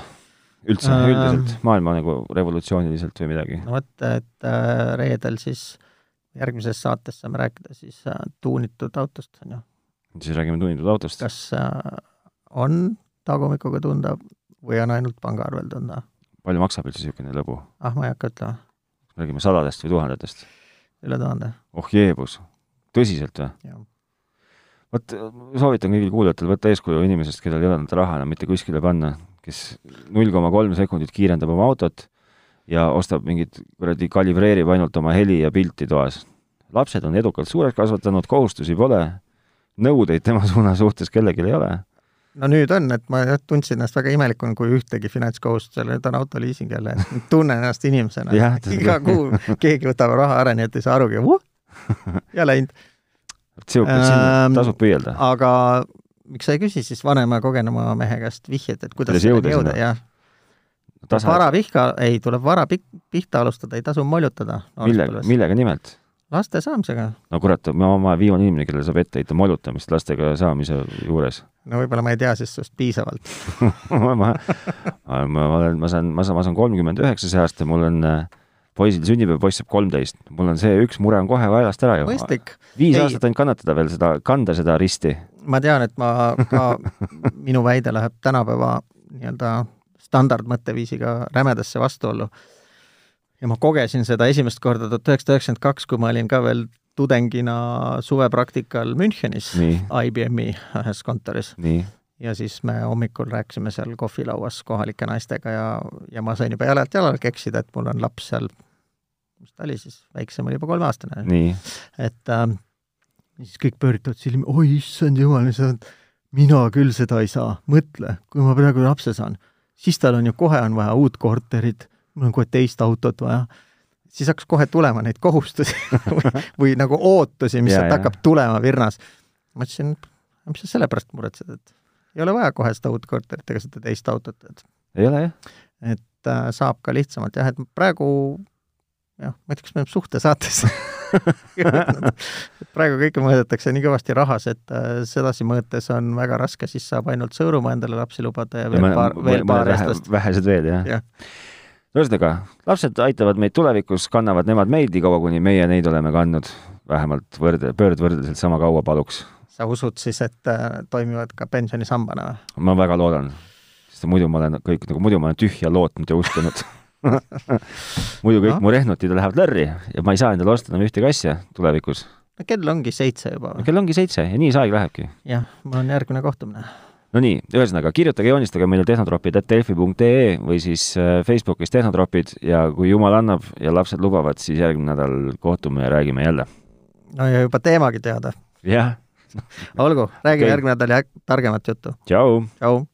üldse Ähm. ähm... , üldiselt maailma nagu revolutsiooniliselt või midagi ? no vot , et äh, reedel siis järgmises saates saame rääkida siis äh, tuunitud autost , on ju . siis räägime tunnitud autost . kas äh, on tagumikuga tunda või on ainult pangaarvel tunda ? palju maksab üldse niisugune lõbu ? ah , ma ei hakka ütlema , räägime sadadest või tuhandetest ? üle tuhande , oh jeebus , tõsiselt või ? jah . vot soovitan kõigil kuulajatel võtta eeskuju inimesest , kellel ei ole enda raha enam mitte kuskile panna , kes null koma kolm sekundit kiirendab oma autot ja ostab mingit kuradi , kalibreerib ainult oma heli ja pilti toas . lapsed on edukalt suureks kasvatanud , kohustusi pole , nõudeid tema suuna suhtes kellelgi ei ole . no nüüd on , et ma jah tundsin ennast väga imelikuna , kui ühtegi finantskohustust ei ole , nüüd on autoliising jälle , et nüüd tunnen ennast inimesena Jah, . iga kuu keegi võtab raha ära , nii et ei saa arugi uh, , ja läinud . Ähm, tasub püüelda . aga miks sa ei küsi siis vanema ja kogenuma mehe käest vihjet , et kuidas Kuidas jõuda selleni jõuda , sinna? jah . vara pihka , ei , tuleb vara pi- pihta alustada , ei tasu moljutada . millega , millega nimelt ? laste saamisega no kurat , ma olen viimane inimene , kellele saab ette heita molutamist lastega saamise juures . no võib-olla ma ei tea siis sinust piisavalt . ma , ma, ma, ma olen , ma saan , ma saan , ma saan kolmkümmend üheksa see aasta , mul on äh, poisil sünnipäev , poiss saab kolmteist , mul on see üks mure on kohe väljast ära ju . mõistlik . viis Ei. ei. aastat ainult kannatada veel seda , kanda seda risti . ma tean , et ma ka , minu väide läheb tänapäeva nii-öelda standardmõtteviisiga rämedasse vastuollu . ja ma kogesin seda esimest korda tuhat üheksasada üheksakümmend kaks , kui ma olin ka veel tudengina suvepraktikal Münchenis nii , IBM-i ühes kontoris nii , ja siis me hommikul rääkisime seal kohvilauas kohalike naistega ja , ja ma sain juba jalalt jalale keksida , et mul on laps seal , mis ta oli siis , väiksem oli juba kolmeaastane , nii , et ähm, siis kõik pööritavad silmi , oi issand jumal , mina küll seda ei saa , mõtle , kui ma praegu lapse saan , siis tal on ju kohe on vaja uut korterit , mul on kohe teist autot vaja , siis hakkas kohe tulema neid kohustusi või, või nagu ootusi , mis Jaa, sealt jaa. hakkab tulema virnas . ma ütlesin , mis sa selle pärast muretsed , et ei ole vaja kohe seda uut korterit ega seda teist autot , et ei ole jah ? et äh, saab ka lihtsamalt jah , et praegu jah , ma ei tea , kas me oleme suhtesaates et praegu kõike mõõdetakse nii kõvasti rahas , et äh, sedasi mõõtes on väga raske , siis saab ainult sõõrumaa endale lapsi lubada ja veel paar , veel paar eestlast . vähesed veel jah ja. Jah. ? ühesõnaga , lapsed aitavad meid tulevikus , kannavad nemad meid nii kaua , kuni meie neid oleme kandnud . vähemalt võrde , pöördvõrdeliselt sama kaua paluks . sa usud siis , et äh, toimivad ka pensionisambana või ? ma väga loodan , sest muidu ma olen kõik nagu, muidu ma olen tühja lootnud ja uskunud muidu kõik no. mu rehnutid lähevad lärri ja ma ei saa endale osta enam ühtegi asja tulevikus. no kell ongi seitse juba või? kell ongi seitse ja nii see aeg lähebki. jah, mul on järgmine kohtumine. no nii, ühesõnaga kirjutage, joonistage meile tehnotropid.delfi.ee või siis äh, Facebookis Tehnotropid ja kui jumal annab ja lapsed lubavad, siis järgmine nädal kohtume ja räägime jälle. no ja juba teemagi teada. jah. olgu, räägime okay. järgmine nädal ja targemat juttu. tšau. tšau.